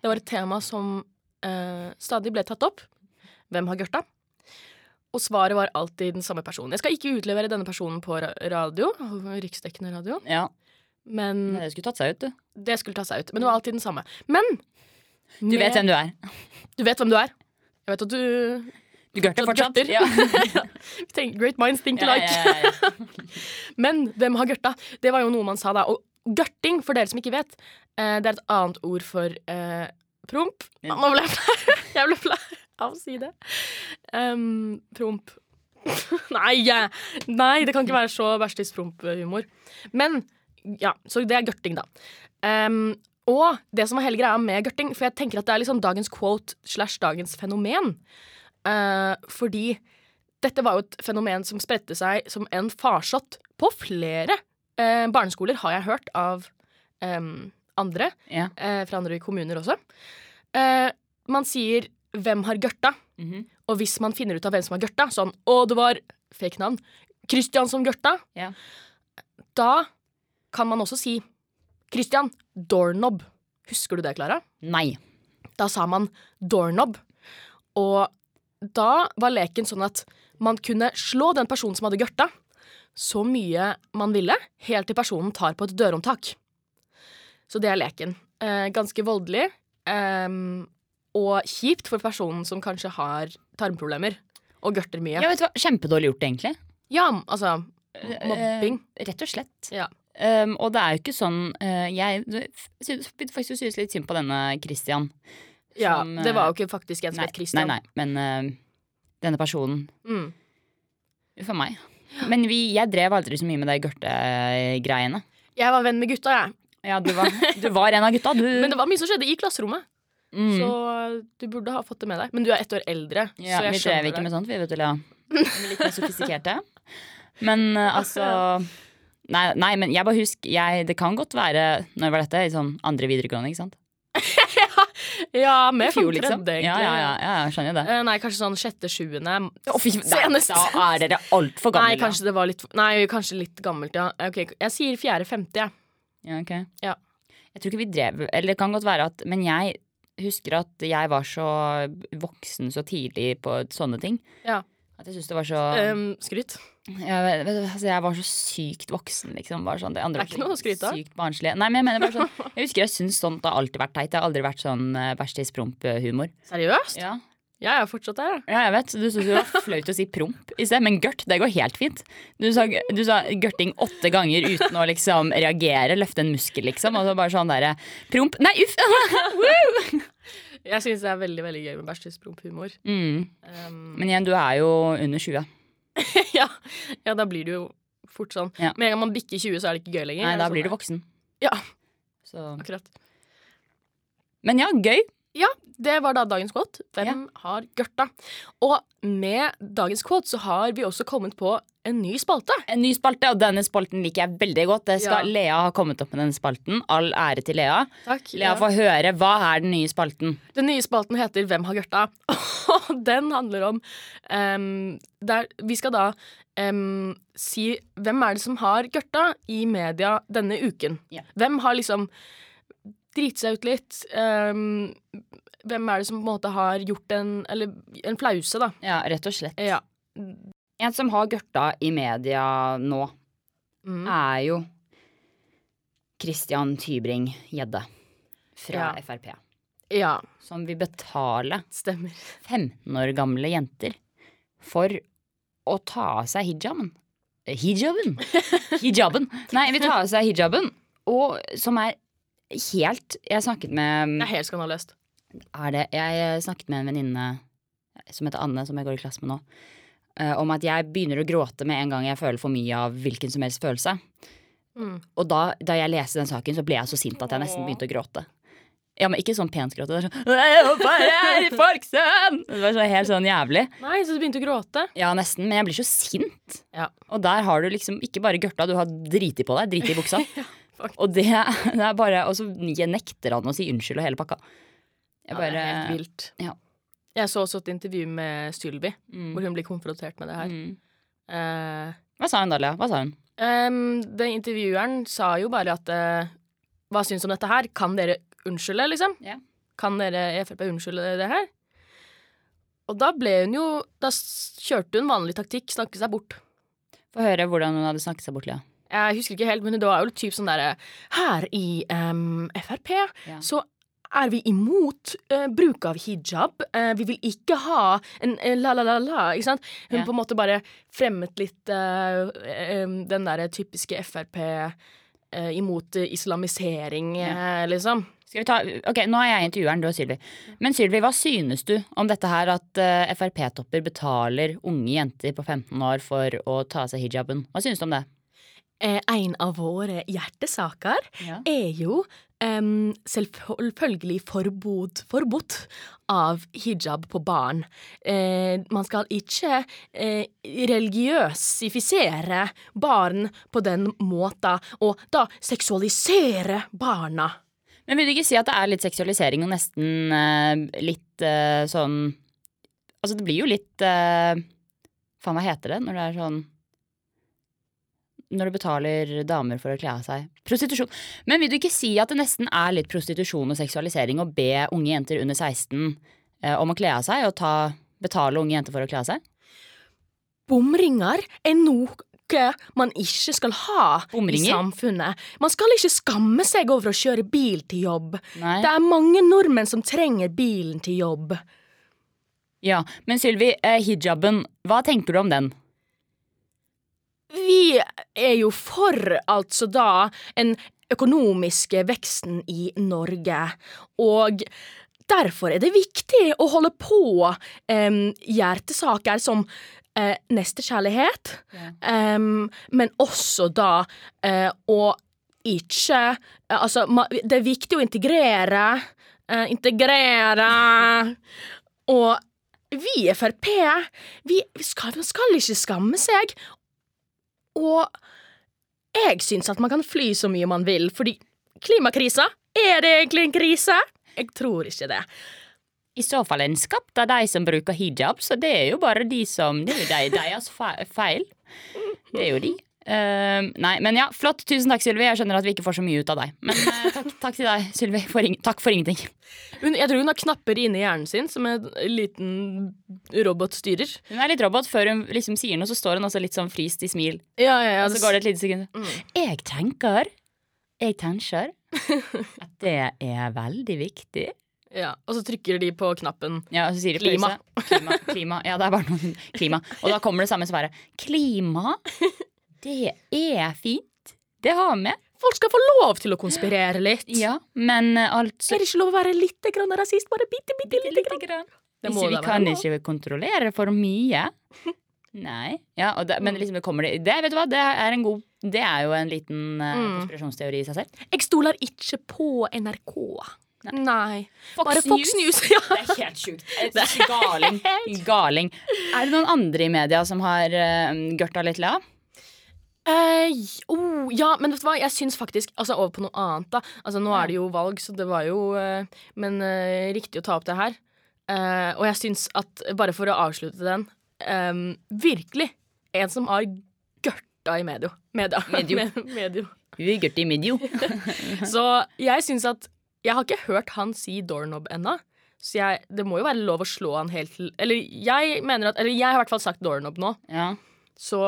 S3: Det var et tema som eh, stadig ble tatt opp. Hvem har gørta? Og svaret var alltid den samme personen. Jeg skal ikke utlevere denne personen på ra- radio, riksdekkende radio,
S4: fint. Ja,
S3: men
S4: men det skulle tatt seg ut, du.
S3: det skulle ta seg ut. Men det var alltid den samme. Men
S4: Du vet hvem du er.
S3: du vet hvem du er. Jeg vet at du
S4: Du gørter
S3: Du
S4: fortsatt.
S3: gørter. [LAUGHS]
S4: Ja.
S3: tenker Great minds think
S4: Ja,
S3: alike.
S4: ja, ja, ja.
S3: Men hvem har gørta? Det var jo noe man sa da. Og gørting, for dere som ikke vet, eh, det er et annet ord for eh, promp.
S4: Ja.
S3: Nå ble jeg flau. [LAUGHS] Jeg ble flau av å si det. Em, promp. [LAUGHS] Nei, eh, nei, det kan ikke være så verstis-promp-humor. Men ja, så det er gørting, da. Em, og det som er hele greia med gørting, for jeg tenker at det er liksom dagens quote slash dagens fenomen. Eh, fordi dette var jo et fenomen som spredte seg som en farsott på flere eh, barneskoler, har jeg hørt av em, andre,
S4: Ja.
S3: eh, fra andre kommuner også. Eh, man sier 'hvem har gørta',
S4: Mhm.
S3: og hvis man finner ut av hvem som har gørta, sånn 'å, det var fake navn', Christian som gørta,
S4: Ja.
S3: da kan man også si 'Christian, doorknob'. Husker du det, Klara?
S4: Nei.
S3: Da sa man doorknob. Og da var leken sånn at man kunne slå den personen som hadde gørta, så mye man ville, helt til personen tar på et dørhåndtak. Så det er leken. Eh, ganske voldelig. ehm, og kjipt for personen som kanskje har tarmproblemer og gørter mye.
S4: Ja, vet du hva? Kjempedårlig gjort, egentlig.
S3: Ja, altså mobbing.
S4: Eh, Rett og slett.
S3: Ja.
S4: Um, og det er jo ikke sånn eh, Jeg synes- begynte faktisk å synes litt synd på denne Christian.
S3: Ja,
S4: som,
S3: det var
S4: eh,
S3: jo ikke faktisk en som
S4: Nei,
S3: het
S4: nei,
S3: Christian.
S4: nei, men eh, denne personen
S3: Mm.
S4: Uff a meg. Men vi, jeg drev aldri så mye med de gørtegreiene.
S3: Jeg var venn med gutta, jeg.
S4: Ja, du var, [LAUGHS] du var en av gutta, du.
S3: Men det var mye som skjedde i klasserommet.
S4: mm.
S3: Så du burde ha fått det med deg. Men du er ett år eldre.
S4: ja,
S3: så jeg
S4: vi drev
S3: skjønner
S4: ikke
S3: det.
S4: med sånt, vi, vet du, Lea. Vi var litt mer sofistikerte.
S3: [LAUGHS]
S4: Men eh, altså Nei, nei, men jeg bare husker jeg, Det kan godt være Når var dette? I sånn andre videregående, ikke sant?
S3: Ja, med
S4: I fjor,
S3: femte,
S4: liksom.
S3: tredje, egentlig.
S4: Ja, ja, ja, ja, jeg skjønner jo det.
S3: Eh, Nei, kanskje sånn sjette, sjuende.
S4: Å, fy, nei,
S3: Senest.
S4: da
S3: [LAUGHS]
S4: er dere altfor gamle.
S3: Nei, kanskje det var litt Nei, kanskje litt gammelt, ja. Ok, jeg sier fjerde-femte, jeg.
S4: Ja, ok.
S3: Ja.
S4: Jeg tror ikke vi drev Eller det kan godt være at Men jeg husker at jeg var så voksen så tidlig på sånne ting.
S3: Ja.
S4: At jeg syns det var så
S3: Ehm, skryt.
S4: jeg, vet- vet du, altså jeg var så sykt voksen, liksom. Bare sånn, det andre
S3: Det er ikke noe å skryte av.
S4: Sykt barnslig. Nei, men jeg mener bare
S3: [LAUGHS]
S4: sånn Jeg husker jeg syns sånt har alltid vært teit. Det har aldri vært sånn uh, verstidspromp-humor.
S3: Seriøst?
S4: Ja.
S3: Jeg er fortsatt der, jeg.
S4: ja, jeg vet. Du syntes det var flaut å si promp i sted, men gørt, det går helt fint. Du sa, du sa gørting åtte ganger uten å liksom reagere, løfte en muskel, liksom. Og så bare sånn derre promp Nei, uff!
S3: Jeg syns det er veldig veldig gøy med bæsjtidspromphumor.
S4: Mm. [LAUGHS]
S3: Um,
S4: Men igjen, du er jo under 20.
S3: ja, ja, da blir det jo fort sånn.
S4: Ja.
S3: Med en gang man bikker 20, så er det ikke gøy lenger.
S4: Nei, da
S3: Altså,
S4: blir du voksen.
S3: Ja.
S4: Så.
S3: Akkurat.
S4: Men ja, gøy.
S3: Det var da dagens quote. Hvem
S4: Ja.
S3: har gørta? Og med dagens quote så har vi også kommet på en ny spalte.
S4: En ny spalte, og denne spalten liker jeg veldig godt. Det skal
S3: Ja.
S4: Lea ha kommet opp med denne spalten. All ære til Lea.
S3: Takk.
S4: Lea får høre. Hva er den nye spalten?
S3: Den nye spalten heter Hvem har gørta? [LAUGHS] Og den handler om em, der, Vi skal da em, si hvem er det som har gørta i media denne uken.
S4: Ja.
S3: Hvem har liksom driti seg ut litt? em, hvem er det som på en måte har gjort en Eller en flause, da.
S4: Ja, rett og slett.
S3: Ja.
S4: En som har gørta i media nå,
S3: Mm.
S4: er jo Christian Tybring Gjedde fra
S3: Ja.
S4: Frp.
S3: ja.
S4: Som vil betale
S3: Stemmer.
S4: 15 år gamle jenter for å ta av seg hijaben. Eh,
S3: [LAUGHS]
S4: Hijaben? Hijaben. Nei, vil ta av seg hijaben, og som er helt Jeg snakket med mm,
S3: Det er helt skandaløst.
S4: er det Jeg eh, snakket med en venninne som heter Anne, som jeg går i klasse med nå, eh, om at jeg begynner å gråte med en gang jeg føler for mye av hvilken som helst følelse.
S3: Mm.
S4: Og da, da jeg leste den saken, så ble jeg så sint at jeg nesten begynte å gråte. Ja, men ikke sånn pent gråte. Det var sånn «Jeg jobber her i Farksand!» Det var sånn helt sånn jævlig.
S3: Nei, så du begynte å gråte?
S4: Ja, nesten. Men jeg blir så sint.
S3: Ja.
S4: Og der har du liksom ikke bare gørta, du har driti på deg. Driti i
S3: [LAUGHS]
S4: buksa.
S3: faktisk.
S4: og det, det er bare Og så nekter han å si unnskyld og hele pakka. Jeg bare
S3: det er helt vilt.
S4: ja.
S3: Jeg så også et intervju med Sylvi,
S4: Mm.
S3: hvor hun blir konfrontert med det her.
S4: Mm.
S3: Eh,
S4: Hva sa hun da, Lea? Hva sa hun?
S3: Ehm, den intervjueren sa jo bare at eh, Hva syns du om dette her? Kan dere unnskylde, liksom?
S4: Ja.
S3: Kan dere i Frp unnskylde det her? Og da ble hun jo Da s- kjørte hun vanlig taktikk, snakke seg bort.
S4: Få høre hvordan hun hadde snakket seg bort, Lea.
S3: Jeg husker ikke helt, men det var jo typ sånn derre Her i ehm, Frp
S4: Ja.
S3: så er vi imot eh, bruk av hijab. eh, vi vil ikke ha en eh, la-la-la-la. Ikke sant? Hun
S4: Ja.
S3: på en måte bare fremmet litt eh, em, den derre typiske Frp eh, imot eh, islamisering, eh, liksom.
S4: Skal vi ta, ok, Nå er jeg intervjueren, du og Sylvi. Men Sylvi, hva synes du om dette her at eh, Frp-topper betaler unge jenter på 15 år for å ta av seg hijaben? Hva synes du om det?
S3: Eh, en av våre hjertesaker
S4: Ja.
S3: er jo em, selvfølgelig forbud, forbudt av hijab på barn. Eh, man skal ikke eh, religiøsifisere barn på den måten, og da seksualisere barna.
S4: Men vil du ikke si at det er litt seksualisering og nesten eh, litt eh, sånn Altså, det blir jo litt eh, Faen, hva heter det når det er sånn Når du betaler damer for å kle av seg Prostitusjon. Men vil du ikke si at det nesten er litt prostitusjon og seksualisering å be unge jenter under 16 eh, om å kle av seg, og ta, betale unge jenter for å kle av seg?
S3: Bomringer er noe man ikke skal ha
S4: Bomringer?
S3: i samfunnet. Man skal ikke skamme seg over å kjøre bil til jobb.
S4: Nei.
S3: Det er mange nordmenn som trenger bilen til jobb.
S4: Ja, Men Sylvi, eh, hijaben, hva tenker du om den?
S3: Vi er jo for, altså da, den økonomiske veksten i Norge. Og derfor er det viktig å holde på em, hjertesaker som eh, nestekjærlighet, em, men også da eh, å ikke eh, Altså, ma, det er viktig å integrere. eh, integrere. Og vi i Frp, vi skal, man skal ikke skamme seg. Og jeg syns at man kan fly så mye man vil, fordi klimakrisa Er det egentlig en krise? Jeg tror ikke det.
S4: I så fall er den skapt av de som bruker hijab, så det er jo bare de som Det er jo de- deres fe- feil. Det er jo de. Ehm, nei, men ja, flott. Tusen takk, Sylvi. Jeg skjønner at vi ikke får så mye ut av deg. Men eh, takk, takk til deg, Sylvi. For ing- takk for ingenting.
S3: Hun, jeg tror hun har knapper inni hjernen sin, som en liten robotstyrer.
S4: Hun er litt robot. Før hun liksom sier noe, så står hun også litt sånn frist i smil.
S3: Ja, ja, ja.
S4: Og så går det et lite sekund. Jeg tenker Jeg tenker at det er veldig viktig.
S3: ja. Og så trykker de på knappen.
S4: Ja, og så sier de
S3: Klima.
S4: pause. Klima, klima. Ja, det er bare noen klima. Og da kommer det samme svaret. Klima, det er fint. Det har vi.
S3: Folk skal få lov til å konspirere litt.
S4: Ja, men eh, altså
S3: Er det ikke lov å være litt grann rasist? Bare bitte, bitte lite grann? Det må
S4: Hvis vi
S3: da være
S4: kan
S3: lov.
S4: ikke kontrollere for mye. Nei. Ja, og det,
S3: Mm.
S4: men liksom det kommer det, det Vet du hva, det er en god Det er jo en liten eh,
S3: Mm.
S4: konspirasjonsteori i seg selv.
S3: Jeg stoler ikke på NRK. Nei. Bare Fox News. [LAUGHS] Ja.
S4: Det er helt sjukt.
S3: [LAUGHS]
S4: Galing. Galing. Er det noen andre i media som har uh, gørta litt lav?
S3: Eh, oh, ja, men vet du hva, jeg syns faktisk Altså over på noe annet, da. Altså Nå er det jo valg, så det var jo eh, Men eh, riktig å ta opp det her. Eh, og jeg syns at, bare for å avslutte den eh, Virkelig en som har gørta i medio. Media. [LAUGHS]
S4: Medio.
S3: Med- medio.
S4: Ui, gørte i medio.
S3: Så jeg syns at Jeg har ikke hørt han si doorknob ennå. Så jeg, det må jo være lov å slå han helt til Eller jeg mener at Eller jeg har i hvert fall sagt doorknob nå.
S4: Ja.
S3: Så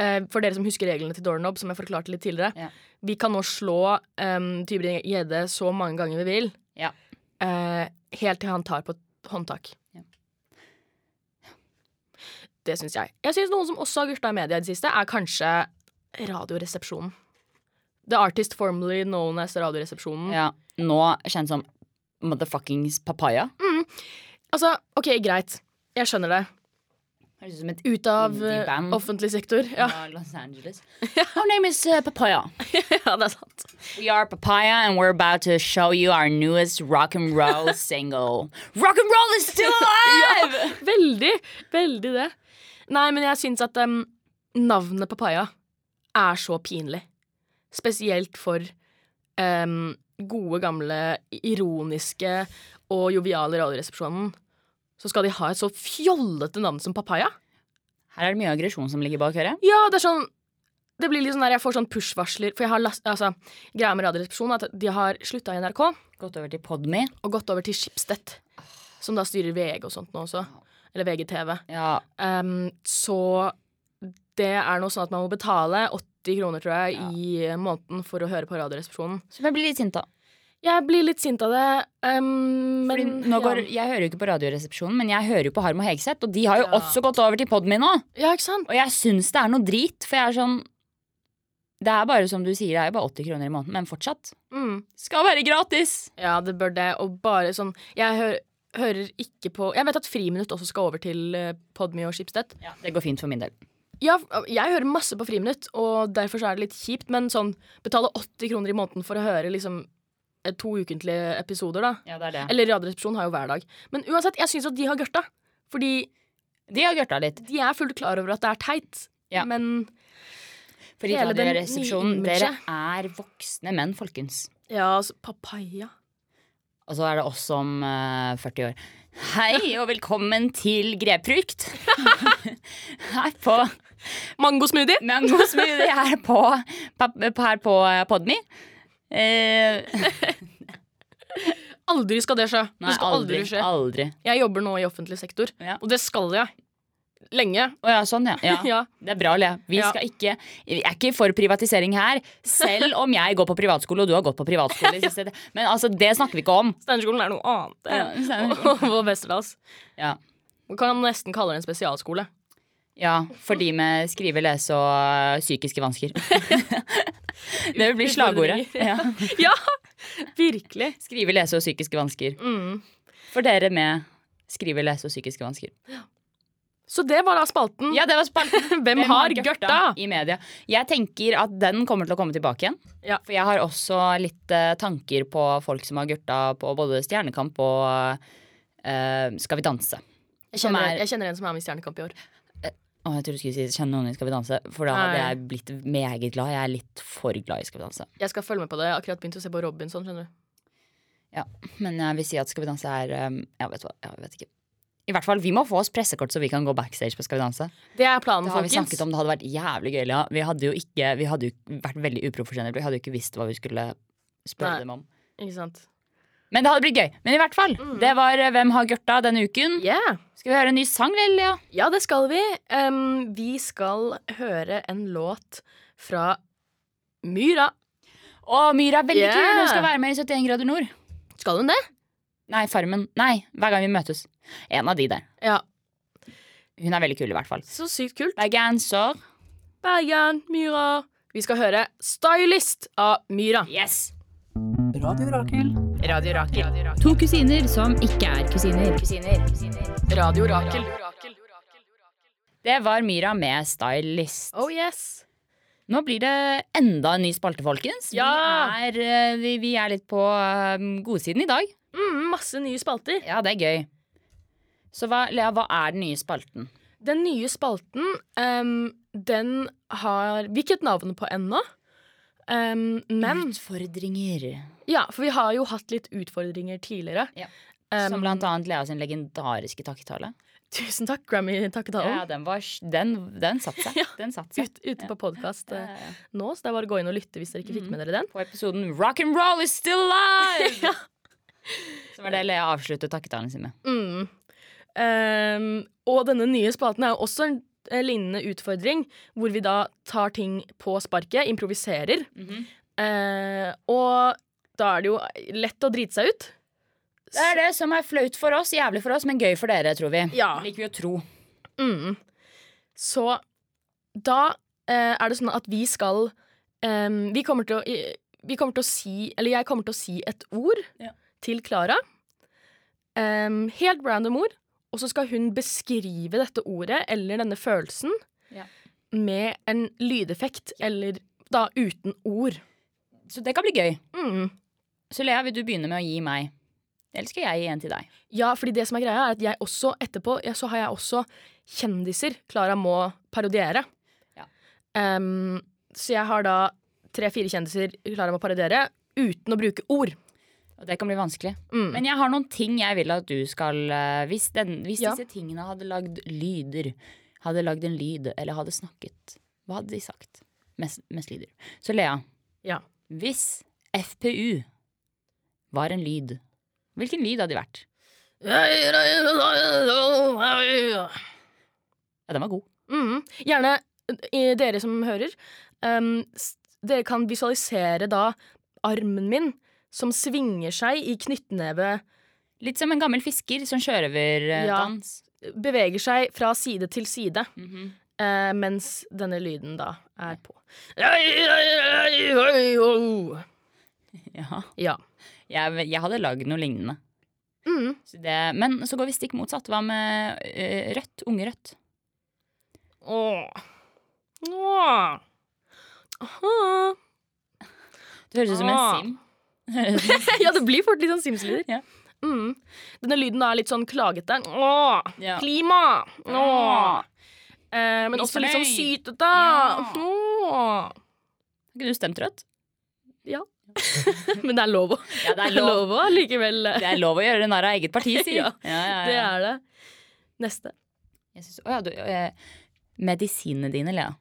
S3: eh, for dere som husker reglene til doorknob, som jeg forklarte litt tidligere
S4: Ja.
S3: Vi kan nå slå um, Tybring-Gjedde så mange ganger vi vil,
S4: Ja.
S3: eh, helt til han tar på et håndtak.
S4: Ja.
S3: Det syns jeg. Jeg syns noen som også har gurta i media i det siste, er kanskje Radioresepsjonen. The artist formerly known as Radioresepsjonen.
S4: ja. Nå kjent som motherfuckings papaya.
S3: Altså, OK, greit. Jeg skjønner det.
S4: Høres ut som et
S3: Ut av eh,
S4: Indie-band.
S3: offentlig sektor. [LAUGHS] Ja.
S4: fra Los
S3: [LAUGHS]
S4: Angeles. Our name is uh, Papaya.
S3: ja, det er sant.
S4: We are Papaya, and we're about to show you our newest rock and
S3: [LAUGHS]
S4: roll single. Rock and roll is still alive!
S3: Veldig. Veldig det. Nei, men jeg syns at em, navnet Papaya er så pinlig. Spesielt for em, gode, gamle, ironiske og joviale Radioresepsjonen. Så skal de ha et så fjollete navn som Papaya?
S4: Her er det mye aggresjon som ligger bak øret.
S3: Ja, det er sånn Det blir litt sånn der jeg får sånn push-varsler. For jeg har last, altså, greia med Radioresepsjonen er at de har slutta i NRK og
S4: Gått over til Podme.
S3: gått over til Schibsted, som da styrer VG og sånt nå også. Eller VGTV.
S4: Ja,
S3: Ehm, så det er noe sånn at man må betale 80 kroner, tror jeg, i måneden for å høre på Radioresepsjonen.
S4: Som jeg blir litt sint av.
S3: Jeg blir litt sint av det, ehm,
S4: Fordi
S3: men
S4: nå går,
S3: ja.
S4: jeg hører jo ikke på Radioresepsjonen, men jeg hører jo på Harm og Hegseth, og de har jo
S3: Ja.
S4: også gått over til Podme nå.
S3: ja, ikke sant?
S4: Og jeg syns det er noe drit, for jeg er sånn Det er bare som du sier, det er jo bare 80 kroner i måneden, men fortsatt.
S3: Mm.
S4: Skal være gratis!
S3: Ja, det bør det. Og bare sånn Jeg hø hører ikke på Jeg vet at Friminutt også skal over til eh, Podme og Schibsted.
S4: Det går fint for min del.
S3: Ja, øh, jeg hører masse på Friminutt, og derfor så er det litt kjipt, men sånn Betale 80 kroner i måneden for å høre liksom eh, to ukentlige episoder, da.
S4: Ja, det er det.
S3: Eller Radioresepsjonen har jo hver dag. Men uansett, jeg syns at de har gørta. Fordi
S4: De har gørta litt.
S3: de er fullt klar over at det er teit.
S4: Ja.
S3: Men
S4: Fordi
S3: Hele den
S4: Radioresepsjonen,
S3: nye
S4: dere
S3: imaget.
S4: er voksne menn, folkens.
S3: ja, altså, papaya
S4: Og så er det oss om eh, 40 år. Hei, og velkommen til Grepfrukt. [LAUGHS] Her på
S3: Mangosmoothie!
S4: Mango smoothie her på, pap- her på eh, Podme. Eh,
S3: Aldri skal det skje.
S4: nei,
S3: det skal aldri, skje.
S4: Aldri.
S3: Jeg jobber nå i offentlig sektor,
S4: Ja.
S3: og det skal jeg. Lenge.
S4: Å ja, sånn, ja. ja.
S3: [LAUGHS] Ja.
S4: Det er bra, Lea. Vi
S3: Ja.
S4: skal ikke, vi er ikke for privatisering her. Selv om jeg går på privatskole, og du har gått på privatskole.
S3: [LAUGHS]
S4: i siste- Men altså, det snakker vi ikke om.
S3: Steinerskolen er noe annet.
S4: Ja,
S3: [LAUGHS] og
S4: Steinerskolen.
S3: og Westerdals.
S4: Ja.
S3: Man kan nesten kalle det en
S4: [LAUGHS]
S3: spesialskole.
S4: Ja, for de med skrive, lese og øh, psykiske
S3: [LAUGHS]
S4: vansker. Det blir slagordet. Ja.
S3: Ja! Virkelig.
S4: Skrive, lese og psykiske vansker.
S3: Mm.
S4: For dere med skrive, lese og psykiske vansker.
S3: Så det var da spalten.
S4: Ja, det var spalten.
S3: Hvem har gørta?
S4: I media. Jeg tenker at den kommer til å komme tilbake igjen.
S3: Ja.
S4: For jeg har også litt eh, tanker på folk som har gørta på både Stjernekamp og eh, Skal vi danse.
S3: Jeg
S4: Som
S3: kjenner,
S4: er-
S3: jeg kjenner en som er med i Stjernekamp i år.
S4: Å, jeg trodde du skulle si 'Kjenner noen i Skal vi danse', for da hadde
S3: Nei.
S4: jeg blitt meget glad. Jeg er litt for glad i Skal vi danse.
S3: Jeg skal følge med på det. Jeg har akkurat begynt å se på Robinson. skjønner du
S4: Men jeg vil si at Skal vi danse er eh, Ja, vet du hva, jeg vet ikke. I hvert fall, Vi må få oss pressekort så vi kan gå backstage på Skal vi danse.
S3: Det er planen,
S4: Det har vi
S3: folkens.
S4: snakket om, det hadde vært jævlig gøy. Lea. Vi hadde jo ikke Vi hadde jo vært veldig uprofesjonelle. Vi hadde jo ikke visst hva vi skulle spørre
S3: Nei.
S4: dem om.
S3: Ikke sant?
S4: Men det hadde blitt gøy. Men i hvert fall,
S2: Mm.
S4: det var eh, Hvem har gørta denne uken.
S3: Yeah.
S4: Skal vi høre en ny sang, eller, Lea?
S3: Ja, det skal vi. Em, vi skal høre en låt fra Myra.
S4: Å, Myra er veldig
S3: Yeah.
S4: kul! Hun skal være med i 71 grader nord.
S3: Skal hun det?
S4: Nei, Farmen. Nei, Hver gang vi møtes. En av de der.
S3: Ja.
S4: Hun er veldig kul, i hvert fall.
S3: Så sykt kult.
S4: Bergenser.
S3: Bergen, Myra. Vi skal høre Stylist av Myra.
S4: Yes!
S1: Radio Rakel.
S3: Radio Rakel.
S2: To kusiner som ikke er kusiner.
S3: Radio Rakel.
S4: Det var Myra med Stylist.
S3: Oh yes.
S4: Nå blir det enda en ny spalte, folkens.
S3: Ja!
S4: Vi, er, eh, vi, vi er litt på eh, godsiden i dag.
S3: Mm, masse nye spalter.
S4: Ja, det er gøy. Så hva, Lea, hva er den nye spalten?
S3: Den nye spalten, em, den har Vi har ikke et navn på ennå. Em, men
S4: Utfordringer.
S3: Ja, for vi har jo hatt litt utfordringer tidligere.
S4: Ja.
S3: Em,
S4: Som blant annet Lea sin legendariske takketale.
S3: Tusen takk, Grammy-takketalen.
S4: Ja, den, var, s- den, den satt seg.
S3: Ja.
S4: Den satt seg.
S3: Ut, ute på podkast
S4: Ja, [LAUGHS]
S3: eh,
S4: ja, ja.
S3: nå, så det er bare å gå inn og lytte hvis dere
S4: Mm.
S3: ikke fikk med dere den.
S4: På episoden Rock and roll is still alive! Så var det Lea avsluttet takketalen sin med.
S3: Mm. Em, Ehm, og denne nye spalten er jo også en eh, lignende utfordring, hvor vi da tar ting på sparket, improviserer.
S4: Mhm.
S3: Eh, og da er det jo lett å drite seg ut.
S4: Det er det som er flaut for oss, jævlig for oss, men gøy for dere, tror vi.
S3: Ja.
S4: Liker vi å tro.
S3: Mm. Så da eh, er det sånn at vi skal em, vi, kommer til å, i- vi kommer til å si Eller jeg kommer til å si et ord
S4: Ja.
S3: til Klara. Em, helt random ord. Og Og så skal hun beskrive dette ordet eller denne følelsen
S4: Ja.
S3: med en lydeffekt, eller da uten ord.
S4: Så det kan bli gøy.
S3: Mm.
S4: Så Lea, vil du begynne med å gi meg? Eller skal jeg gi en til deg?
S3: Ja, fordi det som er greia, er at jeg også etterpå ja, så har jeg også kjendiser Klara må parodiere.
S4: Ja.
S3: Em, så jeg har da tre-fire kjendiser Klara må parodiere uten å bruke ord.
S4: Og det kan bli vanskelig.
S3: Mm.
S4: Men jeg har noen ting jeg vil at du skal eh, Hvis, den, hvis
S3: Ja.
S4: disse tingene hadde lagd lyder, hadde lagd en lyd, eller hadde snakket, hva hadde de sagt? Mest, mest lyder. Så Lea,
S3: Ja.
S4: hvis FPU var en lyd, hvilken lyd hadde de vært? Ja, den var god.
S3: Mm. Gjerne eh, dere som hører. em, s- dere kan visualisere da armen min som svinger seg i knyttneve.
S4: Litt som en gammel fisker som eh,
S3: Ja.
S4: sjørøverdans.
S3: Beveger seg fra side til side.
S4: Ja.
S3: Eh, mens denne lyden da er på. Ja.
S4: ja. Jeg, jeg hadde lagd noe lignende.
S3: Mm.
S4: Så det, men så går vi stikk motsatt. Hva med eh, rødt? Unge rødt?
S3: Åh. Åh. Aha.
S4: Det høres ut som
S3: Ah.
S4: en sim.
S3: ja, det blir fort litt sånn Sims-lyder.
S4: Ja.
S3: Mm. Denne lyden da er litt sånn klagete. Åh.
S4: Ja.
S3: Klima! Åh. Eh, men også litt sånn
S4: Misfornøyd.
S3: sytete.
S4: Ja.
S3: Åh.
S4: Kunne du stemt rødt?
S3: Men det er lov å
S4: [LAUGHS] Ja, det
S3: det er lov å likevel.
S4: Det er lov å gjøre narr av eget parti, sier
S3: [LAUGHS] Ja,
S4: ja, ja,
S3: Det
S4: ja.
S3: er det. Neste.
S4: Jeg synes, å, ja, du, eh, medisinene dine, Lea.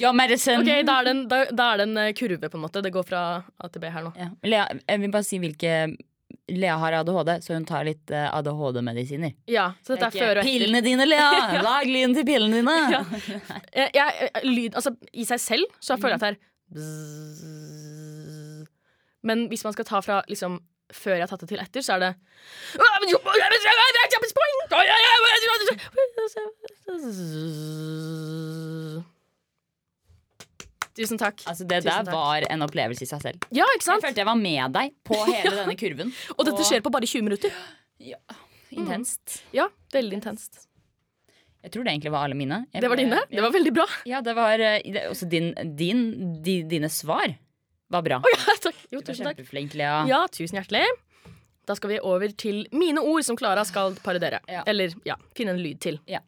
S4: Ja,
S3: [LAUGHS]
S4: medisin.
S3: Ok, da er, det en, da, da er det en eh, kurve, på en måte. Det går fra A til B her nå.
S4: Ja. Lea, jeg vil bare si hvilke Lea har ADHD, så hun tar litt eh, ADHD-medisiner.
S3: Ja, så dette er
S4: Ikke
S3: før og etter.
S4: Pillene dine,
S3: [LAUGHS]
S4: Lea! Lag lyden til pillene dine!
S3: Ja. Jeg, jeg, jeg- lyd, altså, I seg selv så jeg føler jeg at det er bzzz. Men hvis man skal ta fra liksom, før jeg har tatt det til etter, så er det Tusen takk.
S4: Altså, det
S3: Tusen
S4: der
S3: takk.
S4: var en opplevelse i seg selv.
S3: Ja, ikke
S4: Jeg
S3: sant?
S4: følte jeg var med deg på hele denne kurven.
S3: [LAUGHS] Og dette skjer Mm. på bare 20 minutter.
S4: intenst.
S3: Ja, veldig intenst.
S4: Jeg tror det egentlig var alle mine. Jeg
S3: Det var
S4: ble-
S3: dine. Det var veldig bra. [LAUGHS]
S4: Ja, det var eh, det, også din, din, di, Dine svar var bra.
S3: Ja, takk. Jo,
S4: Du var
S3: tusen takk.
S4: kjempeflink, Lea.
S3: Ja, tusen hjertelig. Da skal vi over til mine ord som Klara skal parodiere.
S4: Ja.
S3: Eller ja, finne en lyd til.
S4: Ja.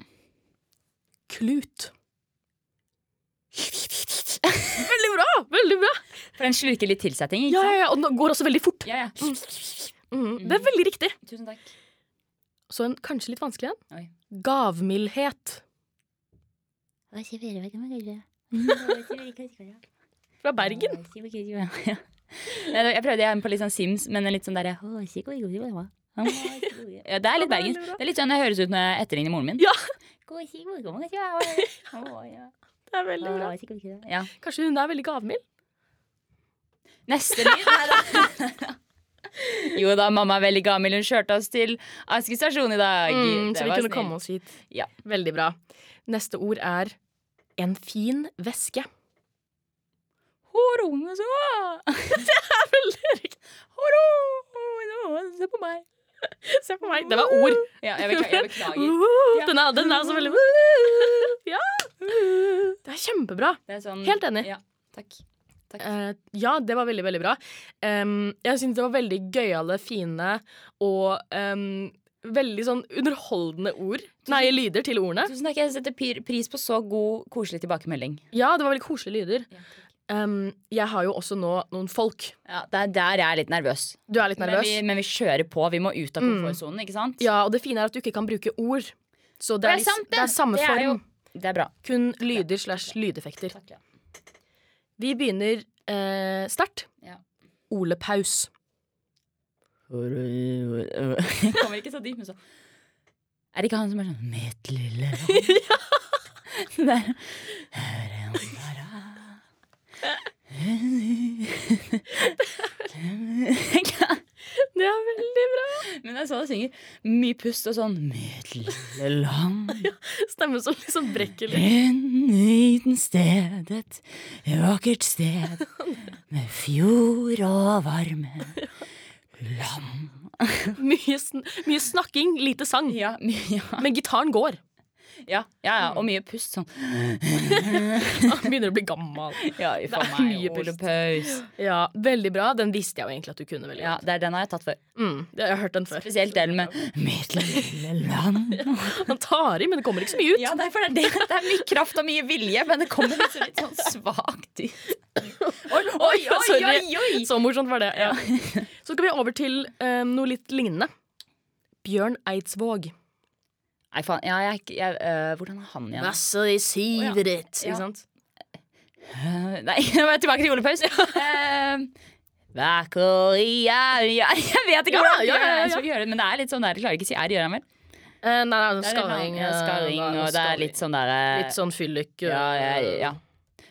S3: [LAUGHS] Klut. Veldig bra! veldig bra
S4: For den sluker litt tilsetting,
S3: Ja,
S4: ikke sant?
S3: ja, ja, Og den går også veldig fort.
S4: Ja, ja.
S3: Mhm, Det er veldig riktig.
S4: Tusen takk.
S3: Så en kanskje litt vanskelig en.
S4: Oi.
S3: Gavmildhet. Fra Bergen.
S4: Nei, Jeg prøvde en på litt sånn Sims, men en litt sånn derre ja, Det er litt Bergen. Det er litt sånn det høres ut når jeg etterligner moren min.
S3: Ja. Det er veldig bra
S4: Ja. ja.
S3: Kanskje hun er veldig gavmild?
S4: Neste lyd Nei da. Jo da, mamma er veldig gammel. Hun kjørte oss til Asker stasjon i dag.
S3: Mm,
S4: Det
S3: så vi
S4: var
S3: kunne
S4: snill.
S3: komme oss hit.
S4: Ja.
S3: Veldig bra. Neste ord er en fin væske.
S4: Horone så [LAUGHS] Det er veldig riktig. se på meg.
S3: [LAUGHS] Se på meg. Det var ord.
S4: Ja, jeg beklager. Jeg beklager.
S3: Uh,
S4: Ja.
S3: Den er, den er så veldig Ja! Det er kjempebra.
S4: Det er sånn,
S3: Helt enig.
S4: Ja, takk. takk.
S3: Eh, ja, det var veldig, veldig bra. Em, jeg syns det var veldig gøyale, fine og em, veldig sånn underholdende ord. Nei, lyder til ordene.
S4: Tusen takk. Jeg setter pir- pris på så god, koselig tilbakemelding.
S3: Ja, det var veldig koselige lyder.
S4: Ja, takk.
S3: Em, jeg har jo også nå noen folk.
S4: Ja, det er der jeg er litt nervøs. Mm.
S3: Du er litt
S4: Men, vi,
S3: nervøs?
S4: men vi kjører på. Vi må ut av komfortsonen, ikke sant?
S3: Ja, og det fine er at du ikke kan bruke ord. Så det er,
S4: Det er sant,
S3: litt- det er
S4: det.
S3: samme
S4: Det er jo-
S3: form.
S4: Det er bra.
S3: Kun lyder slash lydeffekter.
S4: Takk, ja.
S3: Vi begynner eh, sterkt.
S4: Ja.
S3: Ole Paus.
S4: Jeg [LAUGHS] kommer ikke så dypt, men så Er det ikke han som er sånn Mitt lille [LAUGHS] land. Det er- Her er han bare.
S3: Det er veldig bra.
S4: Men det er sånn han synger. Mye pust og [LAUGHS] sånn Mitt lille land.
S3: Stemme som liksom brekker litt.
S4: En liten sted, et vakkert sted, med fjord og varme. Land
S3: Mye, sn mye snakking, lite sang.
S4: Ja, my- ja,
S3: Men gitaren
S4: [LAUGHS]
S3: går.
S4: ja, ja, ja, og mye pust sånn.
S3: Han begynner å bli gammel.
S4: Ja,
S3: Det er mye
S4: Ole
S3: pust.
S4: Paus.
S3: Ja, Veldig bra. Den visste jeg jo egentlig at du kunne veldig
S4: Ja,
S3: godt.
S4: det er den har jeg tatt før.
S3: Mm, det- jeg har hørt den før.
S4: Spesielt den med Mitt lille land.
S3: Han tar i, men det kommer ikke så mye ut.
S4: [LAUGHS] Ja, nei, for det, er det. det er mye kraft og mye vilje, men det kommer liksom litt sånn svakt ut. Oi, oi, oi,
S3: Sorry.
S4: oi, oi.
S3: Så morsomt var det. Ja.
S4: [LAUGHS]
S3: Så skal vi over til eh, noe litt lignende. Bjørn Eidsvåg.
S4: Nei, faen. Ja, jeg, er ikke- jeg, øh, hvordan er han igjen?
S3: Altså, de siver it.
S4: Ja.
S3: Ikke sant?
S4: Øh, [LAUGHS] Nei, jeg er tilbake til Ole
S3: [LAUGHS]
S4: Paus. Ehm, Vakker i er Jeg [LAUGHS] jeg vet
S3: Ja,
S4: ikke hvordan
S3: ja, ja, ja.
S4: jeg skal gjøre det, men det er litt sånn der, jeg klarer ikke å si er, gjør han vel?
S3: Eh, nei, nei,
S4: Det er
S3: skarring.
S4: litt sånn, ja, skarring,
S3: eh,
S4: og det er litt sånn derre
S3: Litt sånn fyllik. eh,
S4: ja, ja, ja.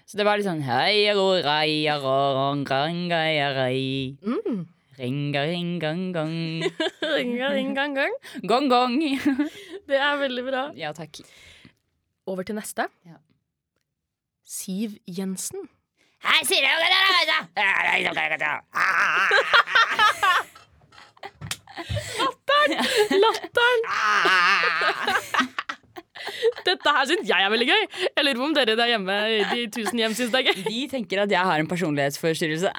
S4: Så det var litt sånn Hei, ro, rei, ro, rong, rang, rei, rei.
S3: Mm.
S4: Ringa, ring, gang,
S3: [LAUGHS]
S4: gong.
S3: Ringa, ring, gang, gang.
S4: Gong, gong. [LAUGHS]
S3: Det er veldig bra.
S4: Ja, takk.
S3: Over til neste.
S4: Ja.
S3: Siv Jensen.
S4: Hei, sier
S3: [LAUGHS]
S4: jeg
S3: Latteren!
S4: Ah!
S3: Dette her syns jeg er veldig gøy. Jeg lurer på om dere der hjemme i de tusen hjem syns det er gøy.
S4: De tenker at jeg har en personlighetsforstyrrelse. [LAUGHS]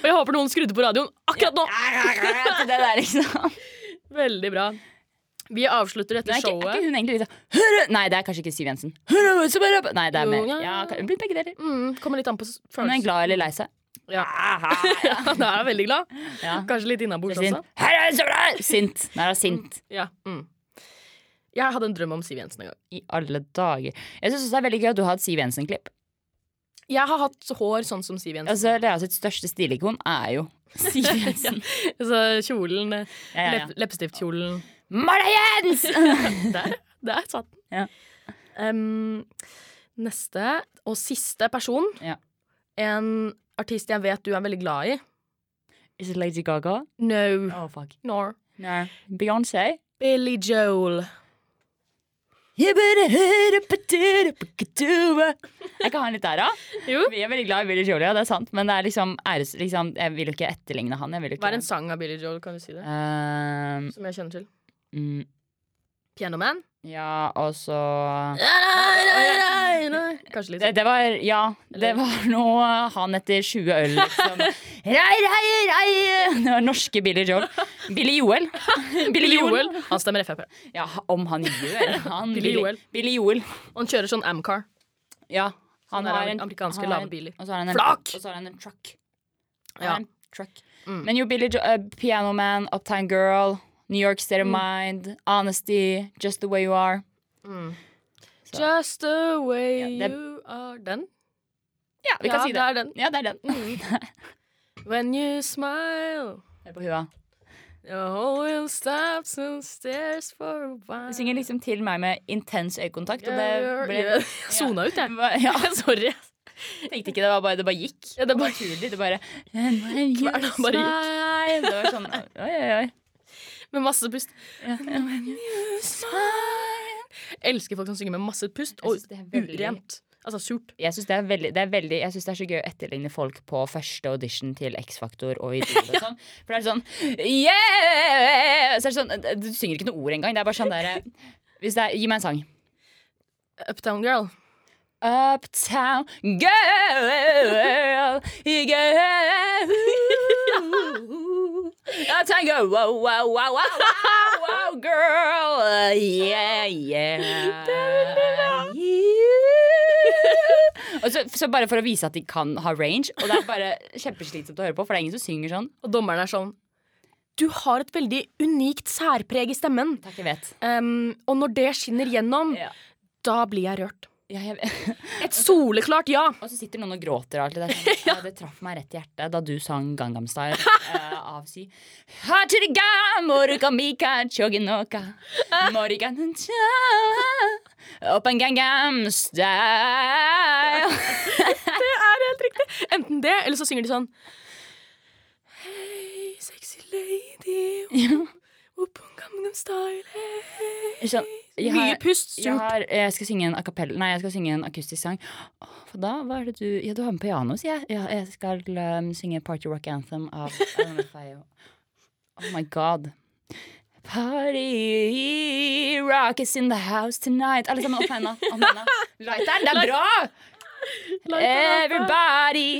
S3: Og jeg håper noen skrudde på radioen akkurat nå.
S4: [LAUGHS] det der, liksom.
S3: Veldig bra. Vi avslutter
S4: Men
S3: dette
S4: er, ikke, er
S3: showet.
S4: ikke hun egentlig litt sånn «Hurra!» Nei, det er kanskje ikke Siv Jensen. «Hurra, så bare opp!» Nei, det er mer
S3: Jo, ja.
S4: ja, Hun blir begge deler.
S3: Mm, kommer litt an på s-
S4: Hun er
S3: følelsen.
S4: glad eller lei seg.
S3: Ja. [LAUGHS] ja, da er jeg veldig glad.
S4: [LAUGHS] Ja.
S3: Kanskje litt innabords
S4: Sin.
S3: også.
S4: «Hurra, så bra!» Sint. Nei, hun er sint.
S3: Ja. Mm. Jeg hadde en drøm om Siv Jensen en gang.
S4: I alle dager. Jeg syns det er veldig gøy at du har et Siv Jensen-klipp.
S3: Jeg har hatt hår sånn som Siv Jensen.
S4: Altså, Lea sitt største stilikon er jo [LAUGHS] Siv Jensen.
S3: [LAUGHS] Så kjolen, eh,
S4: Ja, ja, ja.
S3: lepp- Leppestiftkjolen.
S4: Marte Jens!
S3: Der, der satt den.
S4: Ja.
S3: Em, neste og siste person.
S4: Ja.
S3: En artist jeg vet du er veldig glad i.
S4: [LAUGHS] Is it Lady Gaga?
S3: No.
S4: Oh, fuck.
S3: Nor.
S4: No. Beyoncé?
S3: Billy Joel.
S4: Jeg kan ha en litt der, da.
S3: Jo.
S4: Jeg er veldig glad i Billy Jolie, ja, det er sant. Men det er liksom, æres, liksom Jeg vil jo ikke etterligne han. Jeg vil jo ikke
S3: Hva er en sang av Billy Joel, kan du si det?
S4: Ehm,
S3: Som jeg kjenner til.
S4: mm,
S3: Pianoman?
S4: Ja, og så
S3: Kanskje litt
S4: det,
S3: sånn.
S4: det var Ja, det
S3: Eller-
S4: var noe han etter 20 øl, liksom. Rei, rei, rei! Det var norske Billy Joel. Billy
S3: [LAUGHS]
S4: Joel.
S3: Billy Joel. Han stemmer Frp.
S4: Ja, om han gjør han
S3: Billy Joel.
S4: Billy Joel.
S3: Han kjører sånn Amcar.
S4: Ja.
S3: Sånne der amerikanske
S4: han har en-
S3: ladebiler.
S4: Og så har han en
S3: Flak!
S4: Og så har han en truck. Han
S3: Ja.
S4: har en truck.
S3: Mm.
S4: Men jo, Billy jo eh, Piano Man, Uptime Girl, New York State of Mind, Honesty, Just The Way You Are.
S3: Mm.
S4: Så-
S3: Just the way
S4: Ja, det-
S3: you are Den?
S4: Ja, vi kan
S3: ja,
S4: si det.
S3: det er den.
S4: Ja, det er den.
S3: Mm. [LAUGHS] When you smile
S4: Det er på hua.
S3: The whole will stops and stares for a while.
S4: Du synger liksom til meg med intens øyekontakt, og det ble [LAUGHS]
S3: Jeg sona ut, jeg.
S4: Ja,
S3: [LAUGHS] Sorry.
S4: tenkte ikke det var bare Det bare gikk.
S3: Ja, det
S4: Det var
S3: bare,
S4: naturlig. Det bare When you
S3: Hverdagen bare
S4: smile. Det var sånn Oi, oi, oi.
S3: med masse pust.
S4: Ja.
S3: Jeg elsker folk som synger med masse pust
S4: Jeg
S3: og
S4: synes det er veldig-
S3: urent. Altså surt.
S4: Jeg syns det, er veldig- det, er veldig- jeg synes det er så gøy å etterligne folk på første audition til X-Faktor og Idol og sånn. For det er sånn Yeah! Så er det sånn Du synger ikke noe ord engang. Det er bare sånn derre Hvis det er Gi meg en sang.
S3: Uptown Girl.
S4: Uptown [LAUGHS] girl, girl. Uptown girl, oh, wow, wow, wow, wow, wow, wow, girl. Uh, Yeah, yeah. Og så, så bare for å vise at de kan ha range. Og det er bare kjempeslitsomt å høre på, for det er ingen som synger sånn.
S3: Og dommeren er sånn Du har et veldig unikt særpreg i stemmen.
S4: Takk, jeg vet.
S3: Um, og når det skinner gjennom,
S4: Ja.
S3: da blir jeg rørt.
S4: Ja, jeg vet.
S3: Et soleklart ja!
S4: Og så sitter noen og gråter og alt det der. Sånn, «Ja, det traff meg rett i hjertet da du sang Gangnam Style eh, av Sy. Hachiriga, moruka mika, choginoka, morika nuncha, open Gangnam Style.
S3: Enten det, eller så synger de sånn Hei, sexy
S4: [LAUGHS]
S3: lady Opp on Gangnam Style hey.
S4: Sånn, jeg
S3: Mye
S4: har,
S3: pust,
S4: jeg,
S3: surt
S4: har, eh, jeg skal synge en acapella Nei, jeg skal synge en akustisk sang. Åh, For da, hva er det du Ja, du har med um, piano, sier jeg. Ja, jeg skal eh, synge Party Rock Anthem av I Don't Know If I Oh my god. Party rock is in the house tonight. Alle sammen opp med henda. Opp med henda. Lighteren, det er bra! Eh, Everybody.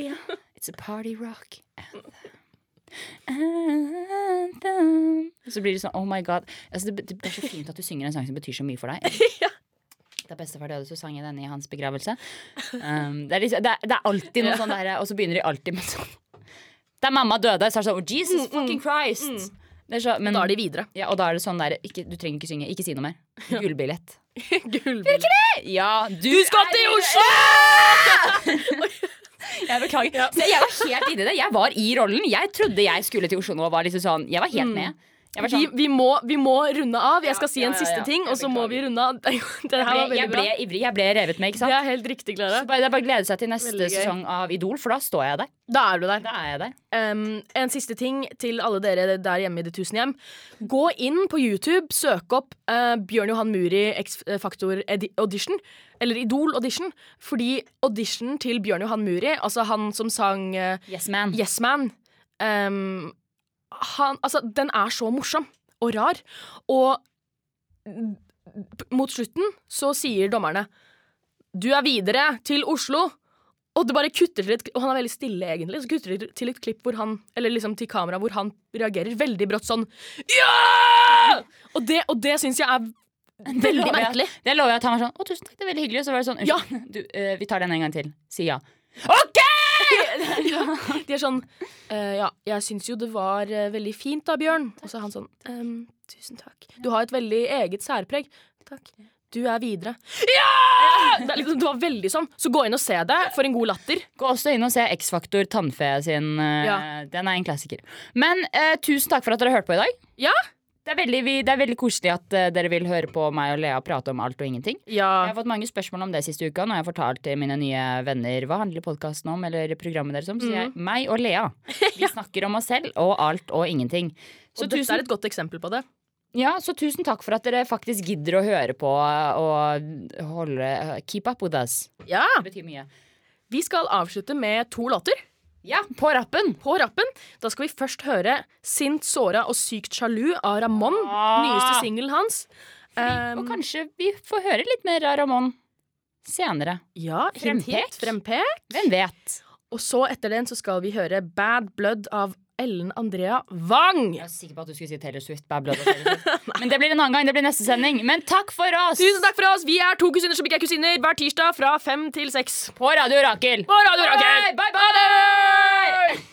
S4: It's a party rock anthem. Anthem. Så blir det sånn oh my god. Altså, det, det er så fint at du synger en sang som betyr så mye for deg. Da bestefar døde, så sang jeg denne i hans begravelse. Um, det, er liksom, det, er, det er alltid noe sånn der, og så begynner de alltid med sånn Da mamma døde, så er det sånn oh, Jesus fucking Christ! Det er så, men,
S3: Da er de [LAUGHS] videre.
S4: ja, og da er det sånn der ikke, Du trenger ikke synge. Ikke si noe mer. Gullbillett.
S3: Gullbil.
S4: Ja, du,
S3: skal
S4: er-
S3: til Oslo!
S4: [LAUGHS] Jeg beklager. Så jeg var helt inni det. Jeg var i rollen. Jeg trodde jeg skulle til Oslo nå. og Var liksom sånn, jeg var helt med. Jeg, var
S3: Mm. Vi,
S4: sånn,
S3: vi, må, vi må runde av. Jeg skal
S4: Ja,
S3: si
S4: ja,
S3: en
S4: ja,
S3: siste
S4: ja.
S3: ting, og
S4: Jeg
S3: så må vi
S4: beklager.
S3: runde av. [LAUGHS] Det er jo- Det her var
S4: jeg,
S3: veldig
S4: ble, jeg ble
S3: bra.
S4: ivrig. Jeg ble revet med, ikke
S3: Det
S4: sant?
S3: er helt riktig,
S4: Så
S3: Klara.
S4: bare, det er bare å glede seg til neste
S3: Veldig gøy.
S4: sesong av Idol, for da står jeg der.
S3: Da er du der.
S4: Da er jeg der.
S3: Um, en siste ting til alle dere der hjemme i det tusen hjem. Gå inn på YouTube, søk opp eh, Bjørn Johan Muri X Factor Edi- Audition, eller Idol Audition, fordi auditionen til Bjørn Johan Muri, altså han som sang eh,
S4: Yes, man.
S3: Yes Man, ehm, han, altså, den er så morsom og rar. Og p- mot slutten så sier dommerne 'Du er videre til Oslo'. Og det bare kutter til et, og han er veldig stille, egentlig. Så kutter det til et klipp hvor han, eller liksom til kamera hvor han reagerer veldig brått sånn Ja! Og det, og det syns jeg er [LAUGHS] veldig
S4: [LAUGHS] lover jeg.
S3: merkelig.
S4: Det lover jeg at han var sånn Å, tusen takk, det er veldig hyggelig. Og så var det sånn
S3: Ja.
S4: Unnskyld, du, eh, vi tar den en gang til. Si ja.
S3: [LAUGHS] De er sånn «Eh, Ja, jeg syns jo det var eh, veldig fint da, Bjørn. Og så er han sånn «Ehm, Tusen takk. Du har et veldig eget særpreg. Takk. Du er videre. Ja! Det, er liksom, det var veldig sånn. Så gå inn og se det, for en god latter.
S4: Gå også inn og se X-Faktor Tannfe sin. eh,
S3: Ja.
S4: Den er en klassiker. Men eh, tusen takk for at dere hørte på i dag.
S3: Ja.
S4: Det er veldig, vi, det er veldig koselig at eh, dere vil høre på meg og Lea prate om alt og ingenting. Jeg
S3: Ja.
S4: har fått mange spørsmål om det siste uka når jeg har fortalt til mine nye venner hva handler podkasten om, eller programmet deres om. Så
S3: Mm.
S4: jeg, meg og
S3: [LAUGHS]
S4: Lea, vi snakker om oss selv og alt og ingenting. Så
S3: Og dette
S4: tusen,
S3: er et godt eksempel på det.
S4: ja, så tusen takk for at dere faktisk gidder å høre på og holde Keep up with us.
S3: Ja.
S4: Det betyr mye.
S3: Vi skal avslutte med to låter
S4: Ja, på rappen!
S3: på rappen. Da skal vi først høre 'Sint, såra og sykt sjalu' av Ramón.
S4: Ah.
S3: Nyeste singelen hans.
S4: og
S3: Um,
S4: kanskje vi får høre litt mer av Ramón senere.
S3: ja, hint, hint. Frempek.
S4: Hvem vet?
S3: Og så etter den så skal vi høre Bad Blood av Ellen Andrea Wang.
S4: Jeg var sikker på at du skulle si Taylor Swift. Bad Blood og Taylor [LAUGHS] Swift. Men det blir en annen gang. Det blir neste sending. Men takk for oss!
S3: Tusen takk for oss! Vi er to kusiner som ikke er kusiner hver tirsdag fra fem til seks.
S4: På Radio Rakel.
S3: På Radio Rakel!
S4: Bye bye! bye, bye.